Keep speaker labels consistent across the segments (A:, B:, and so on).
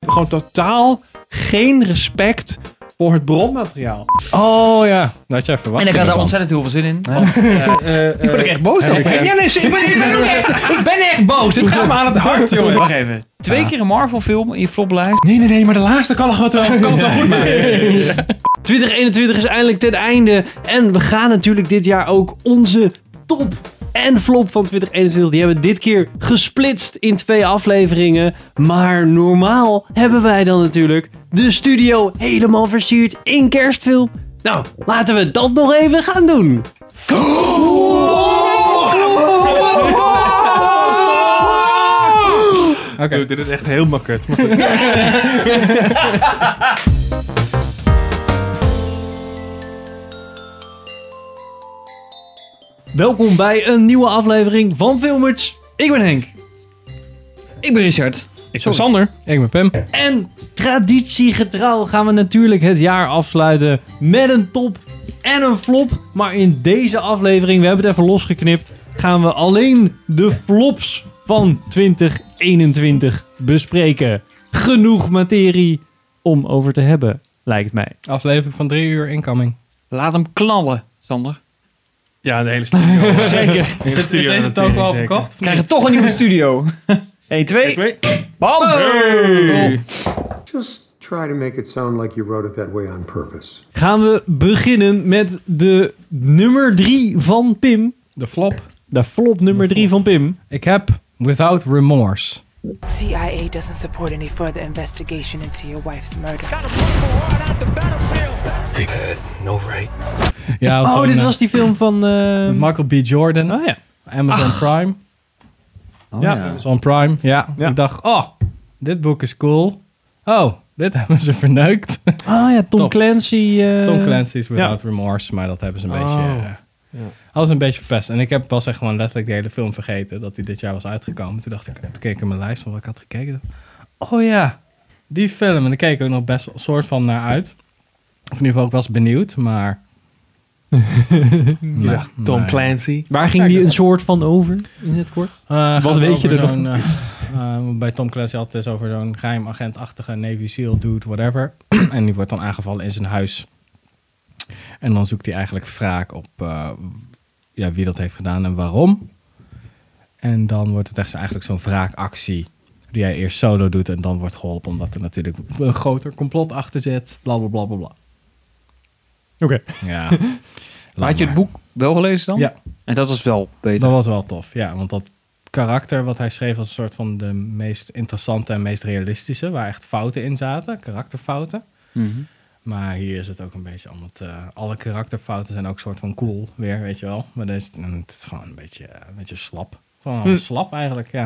A: hebben gewoon totaal geen respect voor het bronmateriaal.
B: Oh ja, dat had jij verwacht.
C: En ik had daar
B: ervan.
C: ontzettend heel veel zin in.
A: Eh, eh,
C: word ik echt boos
B: heb
C: op.
B: ik
C: hè?
B: echt-
A: ja, nee, ik ben, ik ben ook echt, ik ben echt boos. Het gaat me aan het hart, jongen.
C: Wacht even. Twee keer een Marvel film in je floplijst.
A: Nee, nee, nee, maar de laatste kan het wel, kan het wel goed maken.
D: 2021 is eindelijk ten einde. En we gaan natuurlijk dit jaar ook onze top en flop van 2021. Die hebben we dit keer gesplitst in twee afleveringen. Maar normaal hebben wij dan natuurlijk de studio helemaal versierd in kerstfilm. Nou, laten we dat nog even gaan doen.
A: Dude, dit is echt heel makkelijk. Maar goed.
D: Welkom bij een nieuwe aflevering van Filmers. Ik ben Henk.
C: Ik ben Richard.
B: Ik ben Sander. Ik ben Pim.
D: En traditiegetrouw gaan we natuurlijk het jaar afsluiten met een top en een flop. Maar in deze aflevering, we hebben het even losgeknipt, gaan we alleen de flops van 2021 bespreken. Genoeg materie om over te hebben, lijkt mij.
B: Aflevering van drie uur incoming.
C: Laat hem knallen, Sander.
A: Ja, de hele studio.
B: Zeker. Is,
A: Hele
B: dit, is
A: studio
B: deze
A: aan
B: token al
A: zeker.
B: verkocht?
C: We krijgen toch een nieuwe studio. 1, 2, bam!
E: Just try to make it sound like you wrote it that way on purpose.
D: Gaan we beginnen met de nummer 3 van Pim.
B: De flop.
D: De flop nummer 3 van Pim.
B: Ik heb Without Remorse.
F: CIA doesn't support any further investigation into your wife's murder.
B: Ja,
D: Oh,
B: zo'n,
D: dit
B: eh,
D: was die film van... eh,
B: Michael B. Jordan.
D: Oh ja.
B: Amazon Prime.
A: Oh,
B: ja, Amazon Prime. Ja.
D: Ja.
B: Ik dacht, oh, dit boek is cool. Oh, dit hebben ze verneukt.
D: Ah ja, Tom
B: Top.
D: Clancy. eh,
B: Tom Clancy's Without Remorse, maar dat hebben ze een beetje... eh, Alles een beetje verpest. En ik heb pas echt gewoon letterlijk de hele film vergeten dat hij dit jaar was uitgekomen. Toen dacht ik, toen keek ik in mijn lijst van wat ik had gekeken. Oh ja, die film. En daar keek ik ook nog best wel soort van naar uit. Of in ieder geval, ik was benieuwd, maar... Nee,
A: Tom
B: nee.
A: Clancy.
D: Waar ging die een soort van over in het kort?
B: Eh, gaat
D: Wat
B: het
D: weet je
B: over
D: er
B: zo'n, eh, eh, bij Tom Clancy had het is over zo'n geheim agentachtige Navy SEAL dude, whatever. en die wordt dan aangevallen in zijn huis. En dan zoekt hij eigenlijk wraak op eh, ja, wie dat heeft gedaan en waarom. En dan wordt het echt zo, eigenlijk zo'n wraakactie die hij eerst solo doet en dan wordt geholpen omdat er natuurlijk een groter complot achter zit. Bla bla bla bla bla.
D: Oké.
B: Ja.
C: Maar
B: Laat
C: Had je het boek wel gelezen dan?
B: Ja.
C: En dat was wel beter.
B: Dat was wel tof, ja. Want dat karakter wat hij schreef was een soort van de meest interessante en meest realistische. Waar echt fouten in zaten, karakterfouten.
C: Mhm.
B: Maar hier is het ook een beetje allemaal... te- alle karakterfouten zijn ook soort van cool weer, weet je wel. Maar deze, mm, het is gewoon een beetje, eh, een beetje slap. Gewoon slap eigenlijk, ja.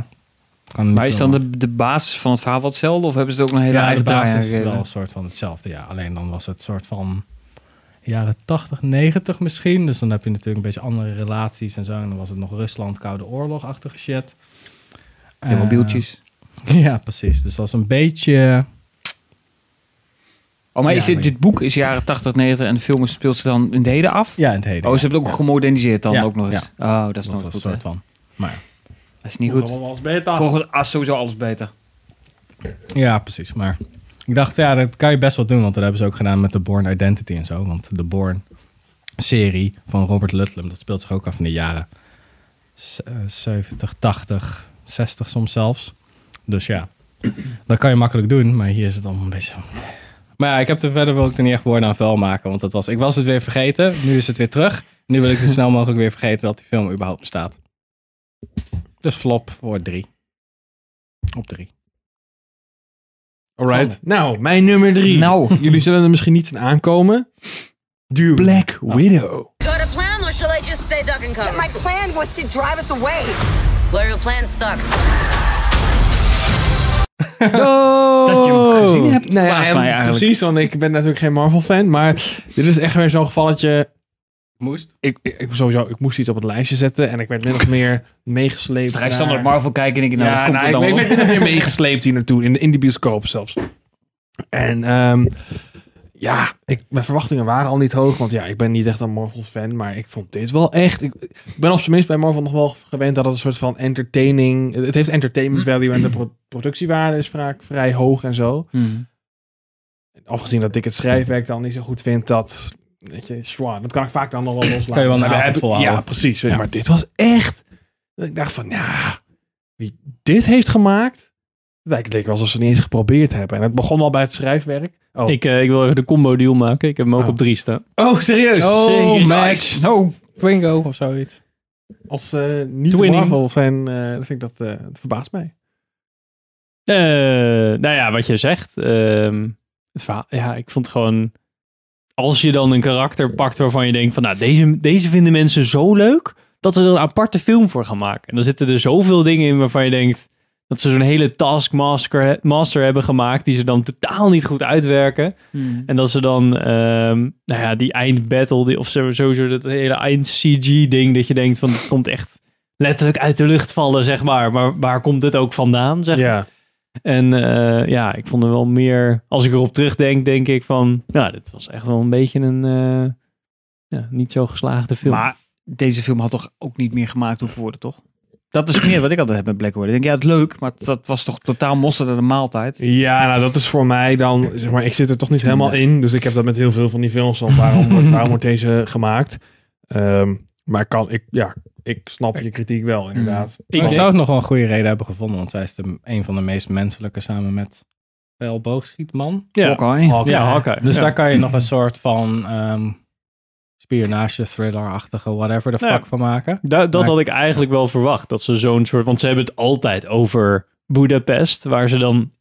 B: Gewoon niet
C: Hm. Maar is dan
B: helemaal-
C: de, de basis van het verhaal wat hetzelfde? Of hebben ze het ook een hele
B: ja,
C: eigen
B: de
C: draai
B: basis is
C: aangegeven?
B: wel een soort van hetzelfde, ja. Alleen dan was het soort van jaren 80, 90 misschien. Dus dan heb je natuurlijk een beetje andere relaties en zo. En dan was het nog Rusland, Koude Oorlog-achtige shit.
C: De mobieltjes.
B: Eh, ja, precies. Dus dat is een beetje...
C: Oh, maar
B: ja,
C: is dit,
B: maar-
C: dit boek is jaren 80, 90 en de film speelt ze dan in het heden af?
B: Ja, in het heden.
C: Oh, ze hebben het ook gemoderniseerd dan
B: Ja,
C: ook nog eens. Oh, dat is
B: dat
C: nog
B: was
C: goed.
B: een
C: hè?
B: soort van... Maar ja.
C: Dat is niet goed.
B: was beter.
C: Volgens ah, sowieso alles beter.
B: Ja, precies. Maar ik dacht, ja, dat kan je best wel doen. Want dat hebben ze ook gedaan met de Born Identity en zo. Want de Born serie van Robert Ludlum, dat speelt zich ook af in de jaren z- eh, 70, 80, 60 soms zelfs. Dus ja, dat kan je makkelijk doen. Maar hier is het allemaal een beetje... Maar ja, ik heb er verder wil ik er niet echt woorden aan vuil maken. Want dat was, ik was het weer vergeten. Nu is het weer terug. Nu wil ik zo snel mogelijk weer vergeten dat die film überhaupt bestaat. Dus flop voor drie. Op drie.
A: Alright. Nou, mijn nummer drie.
C: Nou.
A: Jullie zullen er misschien niet aankomen. Dude. Black Widow.
G: Got a plan or shall I just stay duck and cover?
H: My plan was to drive us away.
G: Well, your plan sucks.
C: Dat je hem gezien hebt,
A: Nee,
C: verbaast
A: en
C: mij eigenlijk.
A: precies, want ik ben natuurlijk geen Marvel-fan. Maar dit is echt weer zo'n gevalletje.
B: Moest.
A: Ik, ik, ik- sowieso, ik moest iets op het lijstje zetten. En ik werd min of meer
C: Dus
A: meegesleept.
C: ga je
A: naar-
C: standaard Marvel kijken en denk je, nou,
A: ja,
C: dat komt
A: nou,
C: er
A: ik,
C: dan
A: ben- ik
C: wel
A: ben min of meer meegesleept hier naartoe. In, in die bioscoop zelfs. En ehm, Ja, ik, mijn verwachtingen waren al niet hoog. Want ja, ik ben niet echt een Marvel-fan. Maar ik vond dit wel echt... Ik, ik ben op zijn minst bij Marvel nog wel gewend dat het een soort van entertaining... Het heeft
C: Hm?
A: entertainment value en de pro- productiewaarde is vaak vrij hoog en zo.
I: Hmm.
A: Afgezien dat ik het schrijfwerk dan niet zo goed vind, dat... Weet je, zwaar. Dat kan ik vaak dan nog wel loslaten.
B: Kan je wel een
A: Maar
B: avond
A: heb ik-
B: volhouden.
A: Ja, precies.
B: Ja.
A: Maar dit was echt... dat Ik dacht van, ja... Wie dit heeft gemaakt... Het leek wel alsof ze het niet eens geprobeerd hebben. En het begon al bij het schrijfwerk. Oh,
D: Ik, eh, ik wil even de combo deal maken. Ik heb hem ook
A: Oh.
D: op drie staan.
A: oh serieus?
D: Zeker.
B: Max. No. Twingo of zoiets.
A: Als eh, niet
D: Twinning.
A: Marvel fan, eh, dan vind ik dat, eh, het verbaast mij.
D: Eh, nou ja, wat je zegt. ehm, het verhaal, ja, ik vond gewoon... Als je dan een karakter pakt waarvan je denkt van... Nou, deze, deze vinden mensen zo leuk... dat we er een aparte film voor gaan maken. En dan zitten er zoveel dingen in waarvan je denkt... dat ze zo'n hele taskmaster master hebben gemaakt... die ze dan totaal niet goed uitwerken. En dat ze dan, ehm, nou ja, die eindbattle, die, of zo- sowieso dat hele eind-CG-ding, dat je denkt van, het komt echt letterlijk uit de lucht vallen, zeg maar. Maar waar komt het ook vandaan, zeg
A: Ja.
D: En eh, ja, ik vond er wel meer, als ik erop terugdenk, denk ik van, nou, dit was echt wel een beetje een eh, ja, niet zo geslaagde film.
I: Maar deze film had toch ook niet meer gemaakt hoeven worden, toch? Dat is meer wat ik altijd heb met Black Widow. Ik denk, ja, het is leuk, maar dat was toch totaal mosterd aan de maaltijd.
A: ja, nou dat is voor mij dan, zeg maar, ik zit er toch niet helemaal in. Dus ik heb dat met heel veel van die films van, waarom, wordt- waarom wordt deze gemaakt? Ehm, maar ik kan, ik, ja, ik snap je kritiek
D: Mm.
A: wel, inderdaad.
B: Ik
A: Maar-
B: zou het nog wel een goede reden hebben gevonden, want zij is de, een van de meest menselijke samen met pijlboogschietman.
D: ja,
I: Hawkeye.
A: Hawkeye.
D: ja, Hawkeye.
B: Dus
D: Ja.
B: daar kan je nog een soort van ehm spionage, thriller-achtige, whatever the fuck
D: Nou ja.
B: van maken.
D: Da- dat
B: Maar-
D: had ik eigenlijk wel verwacht. Dat ze zo'n soort. Want ze hebben het altijd over Budapest, waar ze dan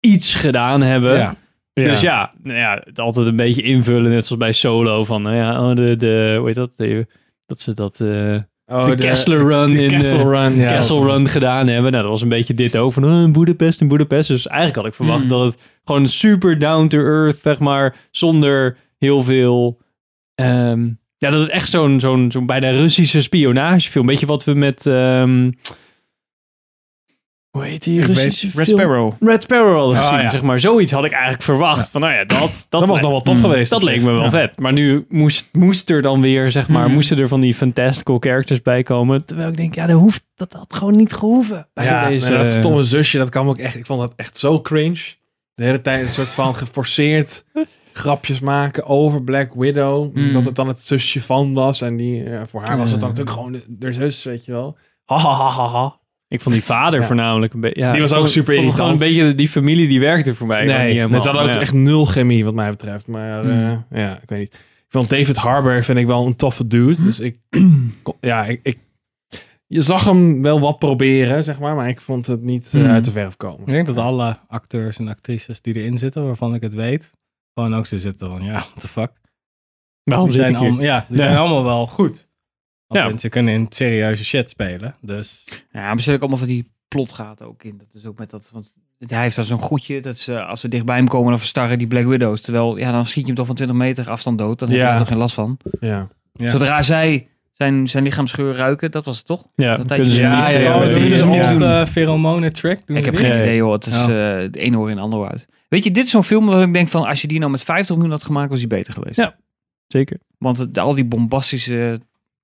D: iets gedaan hebben.
B: Ja.
D: Dus ja, nou ja, het altijd een beetje invullen, net zoals bij Solo. Van nou ja, oh, de, de, hoe heet dat? De- dat ze dat. eh,
A: Oh,
D: de, Kessler Run in
A: Castle
D: de
A: Run. ja.
D: Castle Run gedaan hebben. Nou, dat was een beetje dit over. Van, oh, Budapest en Budapest. Dus eigenlijk had ik verwacht
I: Mm.
D: dat het gewoon super down to earth, zeg maar. Zonder heel veel. ehm, ja, dat het echt zo'n zo'n zo'n bijna Russische spionagefilm. Beetje wat we met. ehm, hoe heet die?
B: Ik weet-
D: Russische
I: Red
D: film?
I: Sparrow.
D: Red Sparrow hadden
B: Ah,
D: gezien,
B: ja.
D: zeg maar. Zoiets had ik eigenlijk verwacht. Van, nou ja, dat, dat,
A: Dat was
D: lijkt-
A: nog wel tof
I: Mm.
A: geweest.
D: dat
A: op
D: leek
A: zich.
D: me wel
A: Ja. Hmm.
D: vet. Maar nu moest, moest er dan weer, zeg maar,
I: Mhm.
D: moesten er van die fantastical characters bij komen. Terwijl ik denk, ja, dat, hoeft, dat had gewoon niet gehoeven. Bij
A: Ja,
D: deze...
A: nee, dat stomme zusje, dat kwam ook echt. Ik vond dat echt zo cringe. De hele tijd een soort van geforceerd grapjes maken over Black Widow.
I: Mm.
A: Dat het dan het zusje van was. En die, eh, voor haar was het dan
D: Mm.
B: Ja.
A: natuurlijk gewoon de, de zus, weet je wel. Ha, ha, ha, ha, ha.
D: Ik vond die vader
A: Ja.
D: voornamelijk een beetje... Ja,
A: Die was
D: ik
A: ook
D: vond-
A: super
D: vond het gewoon een
A: irritant.
D: beetje, die familie die werkte voor mij. gewoon niet
A: Nee,
D: helemaal.
A: dus dat had ook
D: Ja. Hmm.
A: echt nul chemie wat mij betreft. Maar eh, ja, ik weet niet. Ik vond David Harbour vind ik wel een toffe dude. Dus ik, kon- ja, ik, ik, je zag hem wel wat proberen, zeg maar. Maar ik vond het niet eh,
D: Hmm.
I: Mm.
A: uit de verf komen.
B: Ik denk dat alle acteurs en actrices die erin zitten, waarvan ik het weet, gewoon ook zo zitten van, ja, what the fuck.
D: Waarom
B: Die
D: zit
B: zijn,
D: ik hier?
B: allemaal, ja, die
D: Ja.
B: zijn allemaal wel goed.
D: Ja.
B: Ja. Ze kunnen in serieuze shit spelen, dus...
I: Ja, maar zit ook allemaal van die plotgaten ook in. Dat is ook met dat, want hij heeft dan zo'n goedje dat ze, als ze dichtbij hem komen, dan verstarren die Black Widows. Terwijl, ja, dan schiet je hem toch van 20 meter afstand dood. Dan heb
A: Ja.
I: je er toch geen last van.
A: Ja.
B: Ja.
I: Zodra zij zijn, zijn lichaamsgeur ruiken, dat was het toch?
D: Ja,
I: dat
D: kunnen ze
I: tijdje-
D: niet...
A: Ja,
D: eh,
A: ja,
D: met
A: dat
D: die-
A: is
B: is
A: een
B: een
A: old,
B: eh, pheromonen trick.
I: Ik heb
D: die?
I: geen
D: Nee.
I: idee hoor, het is eh het ene hoor in het andere uit. Weet je, dit is zo'n film dat ik denk van, als je die nou met 50 miljoen had gemaakt, was die beter geweest.
D: Ja. Zeker.
I: Want het- al die bombastische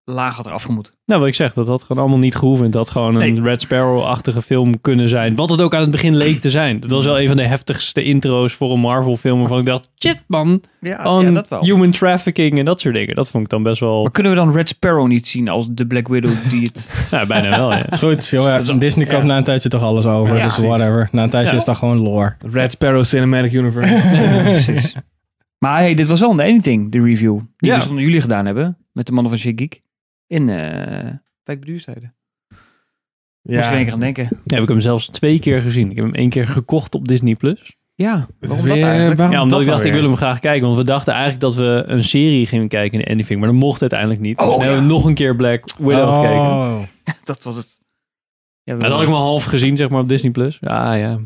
I: lagen eraf gemoet.
D: Nou, wat ik zeg, dat had gewoon allemaal niet gehoeven. Het had gewoon een
I: Nee.
D: Red Sparrow-achtige film kunnen zijn. Wat het ook aan het begin leek te zijn. Dat was wel een van de heftigste intro's voor een Marvel-film. Waarvan ik dacht, shit man,
I: Ja,
D: on
I: dat wel.
D: human trafficking en dat soort dingen. Dat vond ik dan best wel,
I: Maar kunnen we dan Red Sparrow niet zien als de Black Widow die het...
D: nou, bijna wel. Ja.
B: Het is goed, joh, ja, Disney koopt na een tijdje toch alles over,
I: Ja,
B: dus
I: precies.
B: whatever. Na een tijdje
D: Ja.
B: is dat gewoon lore.
A: Red Sparrow Cinematic Universe.
I: Ja, eh, precies. Maar hey, dit was wel een editing, de review. Die
D: Ja.
I: we zonder jullie gedaan hebben. Met de mannen van Shit Geek. In eh Wijk Beduurstijden. Ja. Moest ik er één keer aan denken.
D: Ja, heb ik hem zelfs twee keer gezien. Ik heb hem één keer gekocht op Disney+. Plus. Oh,
I: Ja, waarom dat
A: Weer-
I: eigenlijk?
A: waarom
D: Ja, omdat
A: dat
D: ik dacht, ik
A: alweer?
D: wil hem graag kijken. Want we dachten eigenlijk dat we een serie gingen kijken in Anything. Maar dat mocht uiteindelijk niet. Dus we hebben we nog een keer Black Widow
B: Oh.
D: gekeken. Nou,
I: Dat was het. Ja,
D: dat had ik maar half gezien, zeg maar, op Disney+. Plus. Ja, Ah, ja.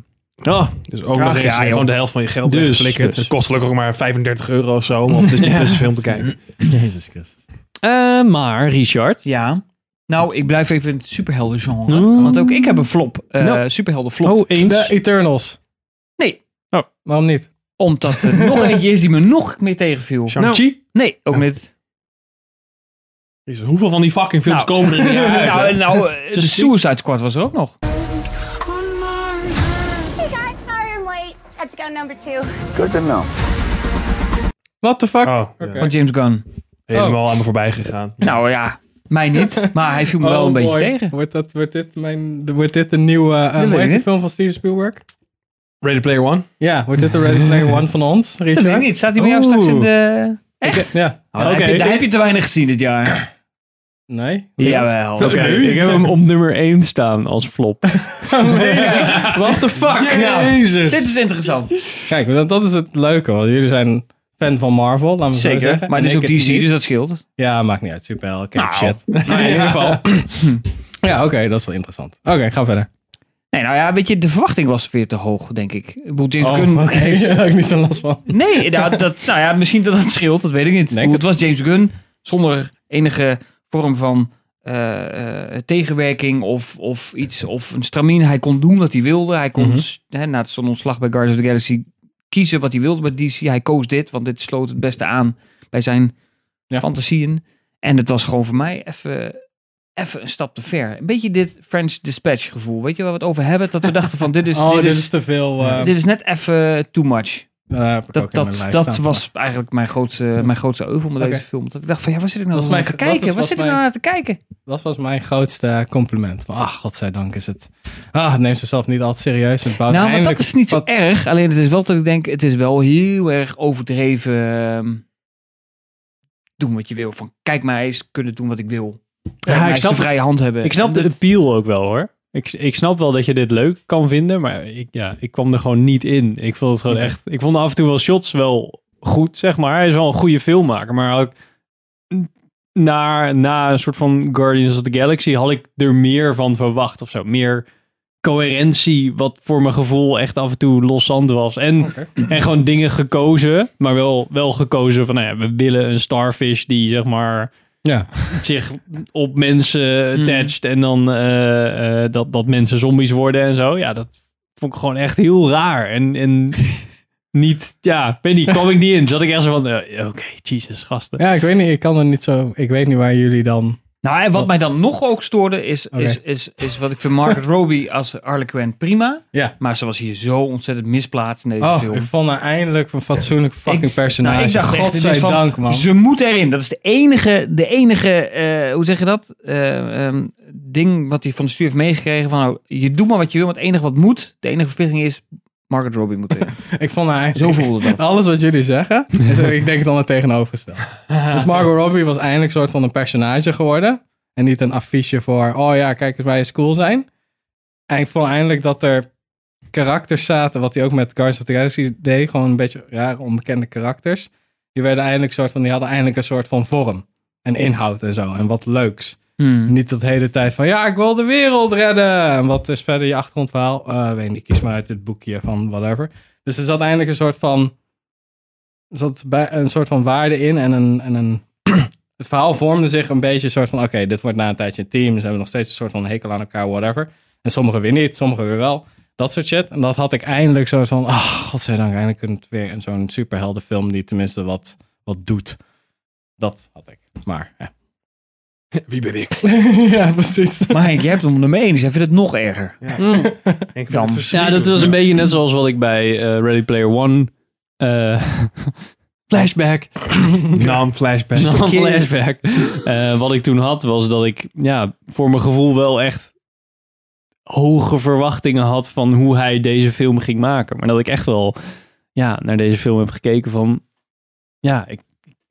A: Dus ook nog
I: Ach,
A: eens
I: ja, joh.
A: gewoon de helft van je geld
D: Dus,
A: dus, flikkert.
D: dus.
A: Het kost gelukkig ook maar 35 euro of zo om op Disney Plus film te
D: Nou.
A: kijken.
B: Jezus Christus.
D: Eh, maar, Richard...
I: Ja. Nou, ik blijf even in het superhelden genre.
D: Mm.
I: Want ook ik heb een flop. eh
D: Nou.
I: superhelden flop.
D: Oh, eens.
B: De Eternals.
I: Nee.
B: Oh, waarom niet?
I: Omdat er nog eentje is die me nog meer tegenviel.
A: Shang-Chi?
I: Nee, ook niet.
A: Jezus, hoeveel van die fucking films
I: Nou.
A: komen er in jaar uit? hè?
I: nou, nou, eh, de Suicide Squad was er ook nog.
J: Hey guys, sorry I'm late. Had to go number two.
B: What the fuck?
A: Oh, ja.
I: Van James Gunn.
A: Helemaal aan me voorbij gegaan.
I: Nou ja, mij niet. Maar hij viel me wel
B: Oh,
I: een beetje
B: boy.
I: tegen.
B: Wordt, dat, wordt, dit mijn, de- wordt dit een nieuwe eh, hoe
I: weet
B: heet
I: ik
B: die
I: niet.
B: film van Steven Spielberg?
A: Ready Player One?
B: Ja, wordt dit de Ready Player One van ons,
I: Dat
B: Richard?
I: weet ik niet. Staat hij bij jou straks in de...
B: Echt? Ja.
I: Oh, daar, heb je, daar heb je te weinig gezien dit jaar.
B: Nee?
I: Jawel.
A: Oké.
D: Ik heb hem op nummer 1 staan als flop.
B: What the fuck?
A: Jezus.
I: Dit is interessant.
B: Kijk, want dat is het leuke. Want jullie zijn fan van Marvel, laten we zo
I: Zeker.
B: zeggen.
I: Maar
B: En
I: dit is
B: ik
I: ook
B: het
I: DC,
B: niet.
I: dus dat scheelt.
B: Ja, maakt niet uit. Superheld, cape
I: Nou.
B: shit. Maar in ieder geval. ja, oké, dat is wel interessant. Oké, ga verder.
I: Nee, nou ja, weet je, de verwachting was weer te hoog, denk ik. Ik bedoel, James Gunn
B: Oh, oké.
I: heeft...
B: Daar heb ik niet zo last van.
I: Nee, nou, dat, nou ja, misschien dat het scheelt, dat weet ik niet. Ik
B: Denk
I: bedoel, het
B: het.
I: was James Gunn zonder enige vorm van eh, eh, tegenwerking of, of iets, of een stramien. Hij kon doen wat hij wilde. Hij kon,
A: Mhm.
I: s- hè, na zijn ontslag bij Guardians of the Galaxy, kiezen wat hij wilde bij DC. Hij koos dit, want dit sloot het beste aan bij zijn
B: Ja.
I: fantasieën. En het was gewoon voor mij even... Even een stap te ver. Een beetje dit French Dispatch gevoel. Weet je waar we het over hebben? Dat we dachten van dit is,
B: oh,
I: Dus dit is,
B: te veel. eh,
I: dit is net even too much.
B: eh, heb ik ook in mijn
I: Dat, dat,
B: lijst
I: dat
B: staan.
I: was eigenlijk mijn grootste, mijn grootste euvel met
B: Oké.
I: deze film. Dat ik dacht van, ja, waar zit ik nou
B: Dat is
I: naar te
B: mijn- dat
I: kijken?
B: is-
I: Waar
B: was
I: zit ik
B: mijn-
I: nou naar te kijken?
B: Dat was mijn grootste compliment. Maar, Ach, godzijdank is het. Ah, het neemt zichzelf niet altijd serieus. Het bouwt
I: Nou, maar
B: eindelijk
I: dat is niet zo
B: wat-
I: erg. Alleen het is wel dat ik denk, het is wel heel erg overdreven. ehm, doen wat je wil. Van, kijk mij eens kunnen doen wat ik wil. Kijk mij
D: ik
I: eens
D: snap-
I: de vrije hand hebben.
D: Ik snap de appeal ook wel hoor. Ik, ik snap wel dat je dit leuk kan vinden, maar ik, ja, ik kwam er gewoon niet in. Ik vond het gewoon echt. Ik vond af en toe wel shots wel goed, zeg maar. Hij is wel een goede filmmaker, maar ook na, na een soort van Guardians of the Galaxy had ik er meer van verwacht of zo. Meer coherentie, wat voor mijn gevoel echt af en toe loszand was. En, en gewoon dingen gekozen, maar wel, wel gekozen van, nou ja, we willen een starfish die zeg maar
B: Ja.
D: zich op mensen attached en dan eh, eh, dat, dat mensen zombies worden en zo. Ja, dat vond ik gewoon echt heel raar. En, en niet, ja, Penny kwam ik niet in. Zat ik echt zo van, eh, oké, Jesus, gasten.
B: ja, ik weet niet. Ik kan er niet zo. Ik weet niet waar jullie dan.
I: Nou, en wat mij dan nog ook stoorde is,
B: Oh. Oké.
I: is, is, is wat ik vind Margaret Robbie als Harlequin prima.
B: Ja.
I: Maar ze was hier zo ontzettend misplaatst in deze
B: Oh,
I: film.
B: ik vond haar eindelijk een fatsoenlijk fucking
I: Ik-
B: personage.
I: Nou, ik dacht echt, dit is van,
B: godzijdank, man.
I: Ze moet erin. Dat is de enige, de enige eh, hoe zeg je dat? Eh, ehm, ding wat hij van de stuur heeft meegekregen. Van, nou, je doet maar wat je wil, maar het enige wat moet, de enige verplichting is, Margaret Robbie moet erin.
B: Ik vond haar
I: Zo
B: eindelijk...
I: voelde dat.
B: Alles wat jullie zeggen, is, ik denk dan het tegenovergestelde. Dus Margot Robbie was eindelijk soort van een personage geworden. En niet een affiche voor, oh ja, kijk eens wij is cool zijn. En ik vond eindelijk dat er karakters zaten, wat hij ook met Guardians of the Galaxy deed. Gewoon een beetje rare, onbekende karakters. Die werden eindelijk soort van, die hadden eindelijk een soort van vorm. En inhoud en zo. En wat leuks.
I: Hmm.
B: Niet dat hele tijd van, ja, ik wil de wereld redden. En wat is verder je achtergrondverhaal? Eh weet niet, kies maar uit dit boekje van whatever. Dus er zat eindelijk een soort van, er zat bij, een soort van waarde in. En, een, en een, het verhaal vormde zich een beetje een soort van, oké, dit wordt na een tijdje een team. Ze hebben nog steeds een soort van hekel aan elkaar, whatever. En sommigen weer niet, sommigen weer wel. Dat soort shit. En dat had ik eindelijk soort van, ah, godzijdank, eindelijk kunnen we weer een- zo'n superheldenfilm die tenminste wat, wat doet. Dat had ik. Maar, ja.
A: Wie ben ik?
B: ja, precies.
I: Maar Henk, jij hebt hem ermee eens. Hij vindt het nog erger.
A: Ik
I: Dan.
A: vind het
D: Ja, dat was een beetje net zoals wat ik bij eh, Ready Player One... eh, flashback.
A: naam flashback.
D: Een flashback. Eh, wat ik toen had, was dat ik ja, voor mijn gevoel wel echt hoge verwachtingen had van hoe hij deze film ging maken. Maar dat ik echt wel ja, naar deze film heb gekeken van... Ja, ik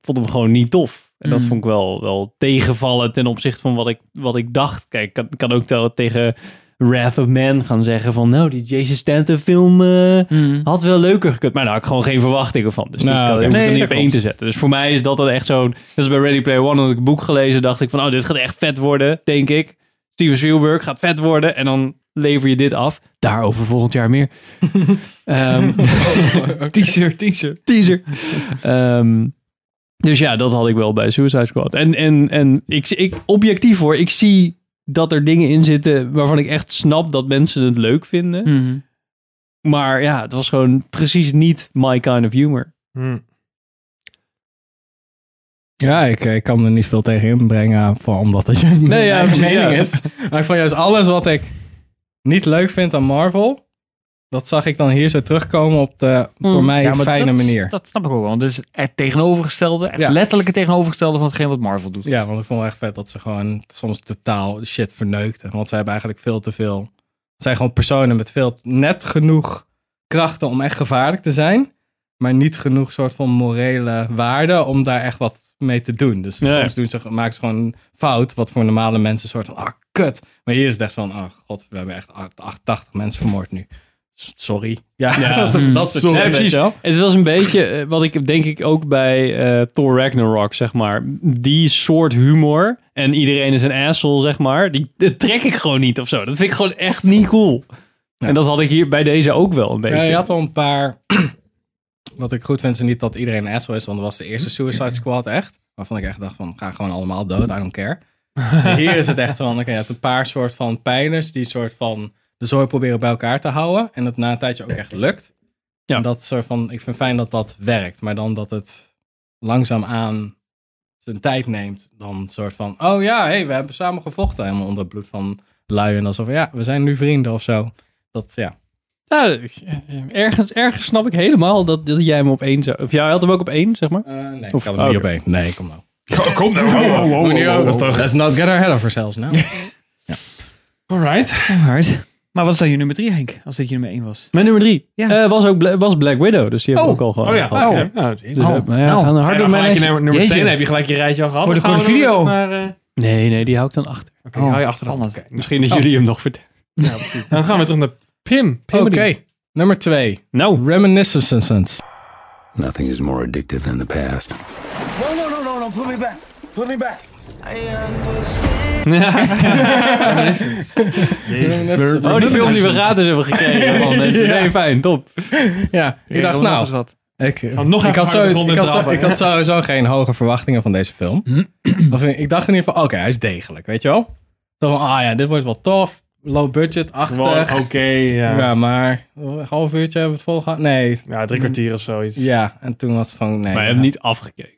D: vond hem gewoon niet tof. En dat
I: Mm.
D: vond ik wel, wel tegenvallen ten opzichte van wat ik, wat ik dacht. Kijk, ik kan, ik kan ook wel tegen Wrath of Man gaan zeggen van... Nou, die Jason Stanton film... eh,
A: Mm.
I: Hmm.
D: had wel leuker gekund, maar daar had ik gewoon geen verwachtingen van. Dus
B: Nou,
D: ik
B: oké.
D: hoef het
B: Mhm. Nee,
D: er niet
B: dat
D: op één te zetten. Dus voor mij is dat dan echt zo'n... Net als bij Ready Player One had ik een boek gelezen. dacht ik van, oh, dit gaat echt vet worden, denk ik. Steven Spielberg gaat vet worden. En dan lever je dit af. Daarover volgend jaar meer. Ehm, teaser, teaser, teaser. Ehm, dus ja, dat had ik wel bij Suicide Squad. En, en, en ik, ik, objectief hoor, ik zie dat er dingen in zitten waarvan ik echt snap dat mensen het leuk vinden.
I: Hmm.
D: Maar ja, het was gewoon precies niet my kind of humor.
A: Hmm.
B: Ja, ik, eh, ik kan er niet veel tegen inbrengen, voor, omdat dat je nee,
D: ja, precies,
B: mening
D: ja.
B: is. Maar ik vond juist alles wat ik niet leuk vind aan Marvel, dat zag ik dan hier zo terugkomen op de voor
I: Mm.
B: mij
I: Ja, maar
B: fijne
I: dat,
B: manier.
I: Dat snap ik ook wel. Want het is het tegenovergestelde, het
B: Ja.
I: letterlijke tegenovergestelde van hetgeen wat Marvel doet.
B: Ja, want ik vond het echt vet dat ze gewoon soms totaal shit verneukten. Want ze hebben eigenlijk veel te veel. Het zijn gewoon personen met veel, net genoeg krachten om echt gevaarlijk te zijn. Maar niet genoeg soort van morele waarde om daar echt wat mee te doen. Dus
D: Nee.
B: soms doen ze, maken ze gewoon een fout. Wat voor normale mensen een soort van, ah, kut. Maar hier is het echt van, oh god, we hebben echt 88 mensen vermoord nu. S- Sorry. Ja, dat, dat soort
D: sorry.
B: shit,
D: Ja,
B: weet je wel.
D: Het was een beetje eh, wat ik denk ik ook bij eh, Thor Ragnarok, zeg maar. Die soort humor en iedereen is een asshole, zeg maar. Die, dat trek ik gewoon niet of zo. Dat vind ik gewoon echt niet cool. En dat had ik hier bij deze ook wel een beetje.
B: Ja, je had al een paar. Wat ik goed vind, is niet dat iedereen een asshole is. Want dat was de eerste Suicide Squad echt. Waarvan ik echt dacht van, ga gewoon allemaal dood, I don't care. En hier is het echt van, oké, je hebt een paar soort van pijlers die soort van de zooi proberen bij elkaar te houden. En dat na een tijdje ook echt lukt.
D: Ja.
B: En dat soort van, ik vind fijn dat dat werkt. Maar dan dat het langzaamaan zijn tijd neemt. Dan soort van, oh ja, hey, we hebben samen gevochten. Helemaal onder het bloed van lui. En alsof, ja, we zijn nu vrienden of zo. Dat, ja.
D: Nou, eh, ergens, ergens snap ik helemaal dat, dat jij hem op één zou... Of jij had hem ook op één, zeg maar.
B: Eh, nee,
D: Of-
B: ik had hem niet
D: oké.
B: op één. Nee, kom nou.
A: Kom nou. Wow, wow, wow, wow, wow.
B: Let's not get our head over ourselves now.
A: Alright.
I: Hard. Maar wat is dan je nummer drie, Henk? Als dit je nummer één was.
D: Mijn nummer drie
I: Ja.
D: eh, was ook Bla- was Black Widow, dus die hebben we ook al gehad.
A: Oh ja.
D: gehad,
A: Oh,
D: ja.
A: ja. Nou, zie je.
D: Dus,
A: Ja,
I: Oh,
D: eh, maar ja,
I: nou.
D: we gaan er hard
A: dan
D: door mijn
A: gelijk je
D: lijstje.
A: nummer, nummer
I: Jeetje.
A: twee. Dan heb je gelijk je rijtje al gehad.
I: Voor de
A: Dan gaan we
I: korte
A: door
I: video.
A: naar, eh,
D: Nee, nee, die hou ik dan achter.
A: Oké, hou je achter de hand.
I: Anders.
A: Oké.
D: Misschien dat jullie hem nog vertellen.
A: Dan gaan we terug naar Pim.
B: Oké,
A: Pim
B: nummer twee.
D: Nou,
B: Reminiscences.
K: Nothing is more addictive than the past.
D: oh, die film die we gratis hebben gekregen. Man, mensen. Nee, fijn, top.
B: Ja, ik dacht
I: Nog
B: nou,
I: eens wat.
B: ik,
D: Oh,
A: nog
B: ik,
A: even
B: had,
A: harder
B: zo, ik,
A: de grond in
B: had, zo,
A: trappen.
B: ik had sowieso geen hoge verwachtingen van deze film.
A: Hm?
B: Of ik ik dacht in ieder geval, oké, hij is degelijk, weet je wel? Toch van, ah ja, dit wordt wel tof. Low budget,
A: Gewoon,
B: achtig.
A: Oké, ja.
B: Ja, maar een half uurtje hebben we het vol gehad. Nee,
A: Ja, drie kwartier of zoiets.
B: ja. En toen was het gewoon, nee.
D: Maar je
B: ja.
D: hebt niet afgekeken.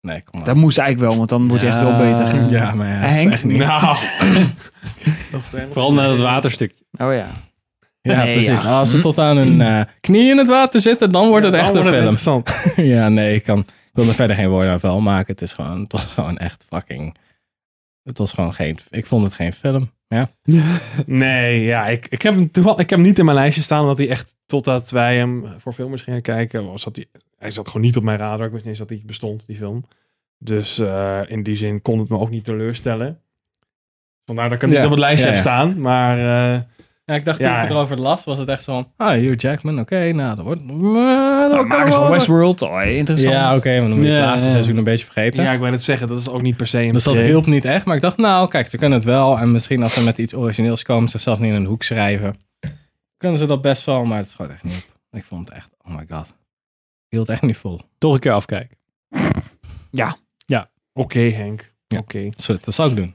B: Nee, kom
I: Dat
B: maar.
I: moest eigenlijk wel, want dan wordt hij echt wel beter.
B: Ja, maar ja, dat is
I: Henk?
B: echt niet.
A: Nou.
D: Vooral na dat waterstukje.
I: Oh ja.
B: Ja,
I: Nee,
B: precies.
I: ja.
B: Als ze tot aan hun eh, knie in het water zitten, dan wordt het echt een film.
A: Interessant.
B: ja, nee, ik, kan, ik wil er verder geen woorden aan vuil maken. Het is gewoon, het was gewoon echt fucking... Het was gewoon geen... Ik vond het geen film. Ja.
A: Nee, ja, ik, ik, heb hem toeval- ik heb hem niet in mijn lijstje staan, omdat hij echt totdat wij hem voor filmers gingen kijken, was dat hij, hij zat gewoon niet op mijn radar. Ik wist niet eens dat hij bestond, die film. Dus eh, in die zin kon het me ook niet teleurstellen. Vandaar dat ik hem
B: Ja,
A: niet op het lijstje
B: ja,
A: heb
B: ja.
A: staan, maar eh,
B: ja ik dacht
A: Ja.
B: toen ik het erover las, was het echt zo van... Ah, Hugh Jackman, oké, nou, dat wordt... maar dat kan
I: Makers
B: wel-
I: van Westworld, oh, interessant.
B: Ja, oké, maar dan moet je het
D: Ja,
B: laatste
D: ja.
B: seizoen een beetje vergeten.
A: ja, ik wil het zeggen, dat is ook niet per se een
B: Dus dat
A: pre-
B: hielp niet echt. Maar ik dacht, nou, kijk, ze kunnen het wel. En misschien als ze met iets origineels komen, zichzelf niet in een hoek schrijven. Kunnen ze dat best wel, maar het schoot echt niet op. Ik vond het echt, oh my god. Ik hield echt niet vol.
D: Toch een keer afkijken.
A: Oké, Henk.
B: Ja.
A: Oké.
B: Zo, dat zou ik doen.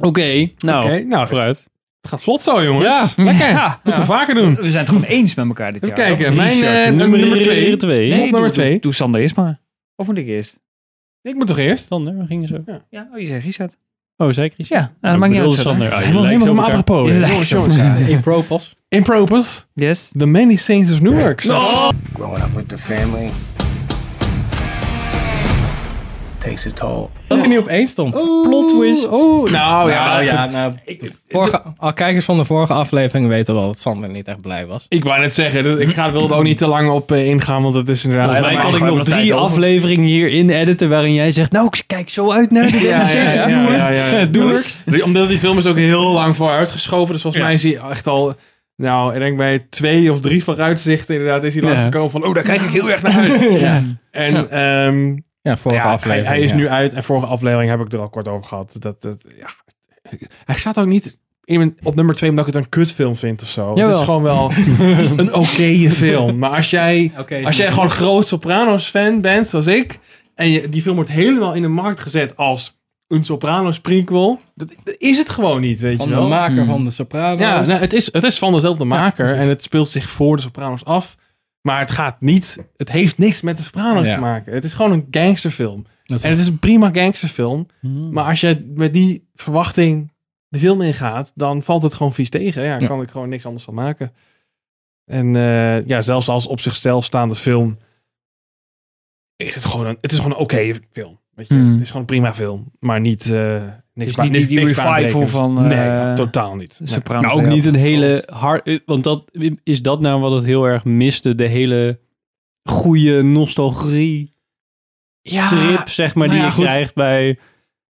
D: Oké,
B: Oh,
D: nou,
A: Oké, nou,
D: vooruit.
A: het gaat vlot zo, jongens. Lekker. Moeten we vaker doen.
I: We zijn het gewoon eens met elkaar dit
A: Even
I: jaar.
A: kijken,
I: Of-
A: mijn eh, nummer, twee.
D: twee.
A: Nee,
I: Nee,
A: op nummer
I: doe-
A: twee.
I: doe- Doe Sander eerst maar. Of moet ik eerst?
A: Ik moet toch eerst?
D: Sander, we gingen zo.
I: Ja, oh, je zegt Richard.
D: Oh, zei ik iets?
I: Ja, nou, dat maakt niet uit.
D: Sander.
I: Sander.
D: Ah,
A: Helemaal,
D: jullie
A: helemaal van
D: lijken
A: mijn
D: zo op
I: elkaar.
A: apropos. Jongens, jongens, ja.
B: In Propos.
A: Impropos.
I: Yes.
A: The Many Saints of Newark. Oh.
K: Growing up with the family takes a toll.
B: Dat hij niet op één stond.
D: Plot twist.
A: Oh, nou ja.
B: nou
A: dat-
B: ja, nou, de vorige, al kijkers van de vorige aflevering weten wel dat Sander niet echt blij was.
A: Ik wou net zeggen, dat- ik ga er wel ook niet te lang op eh, ingaan, want het is inderdaad...
D: Volgens mij
A: Maar-
D: kan ik nog drie afleveringen hierin editen waarin jij zegt, nou, ik kijk zo uit naar de
A: Ja, ja, ja, ja, ja, ja, ja.
D: Doe
A: Doers. Die- Omdat die film is ook heel lang vooruitgeschoven, dus volgens mij is hij echt al... Nou, ik denk bij twee of drie vooruitzichten inderdaad is hij
D: Ja.
A: langsgekomen van... Oh, daar kijk ik heel erg naar uit. En ehm,
B: Ja, vorige
A: ja,
B: aflevering.
A: Hij, hij is
B: ja.
A: nu uit en vorige aflevering heb ik er al kort over gehad. Dat, dat, ja. Hij staat ook niet in mijn, op nummer 2 omdat ik het een kutfilm vind of zo. Het
B: Jawel.
A: is gewoon wel een oké film. Maar als jij,
B: Oké,
A: als jij gewoon groot Sopranos fan bent, zoals ik, en je, die film wordt helemaal in de markt gezet als een Sopranos prequel. Dat, dat is het gewoon niet, weet
B: Van
A: je
B: de
A: wel.
B: maker
A: Hmm.
B: van de Sopranos.
A: Ja, nou, het, is, het is van dezelfde maker
B: precies.
A: en het speelt zich voor de Sopranos af. Maar het gaat niet, het heeft niks met de Sopranos
B: Ja.
A: te maken. Het is gewoon een gangsterfilm.
B: Dat is
A: en het is een prima gangsterfilm.
I: Hmm.
A: Maar als je met die verwachting de film ingaat, dan valt het gewoon vies tegen. Ja,
B: Ja.
A: kan ik gewoon niks anders van maken. En eh, ja, zelfs als op zichzelf staande film, is het gewoon een, het is gewoon een oké film. Weet je?
I: Hmm.
A: Het is gewoon een prima film, maar niet, eh, niks
I: is
A: ba-
I: niet
A: niks-
I: die
A: niks
I: revival
A: baanbrekends.
I: van,
A: Nee,
I: eh,
A: ja, totaal niet. Nee.
I: Sopranos.
D: Nou, ook niet een hele
A: Oh.
D: hard... eh, Want dat, is dat nou wat het heel erg miste? De hele goede nostalgie-trip,
A: Ja,
D: zeg maar,
A: nou
D: die
A: ja,
D: je
A: goed.
D: krijgt bij...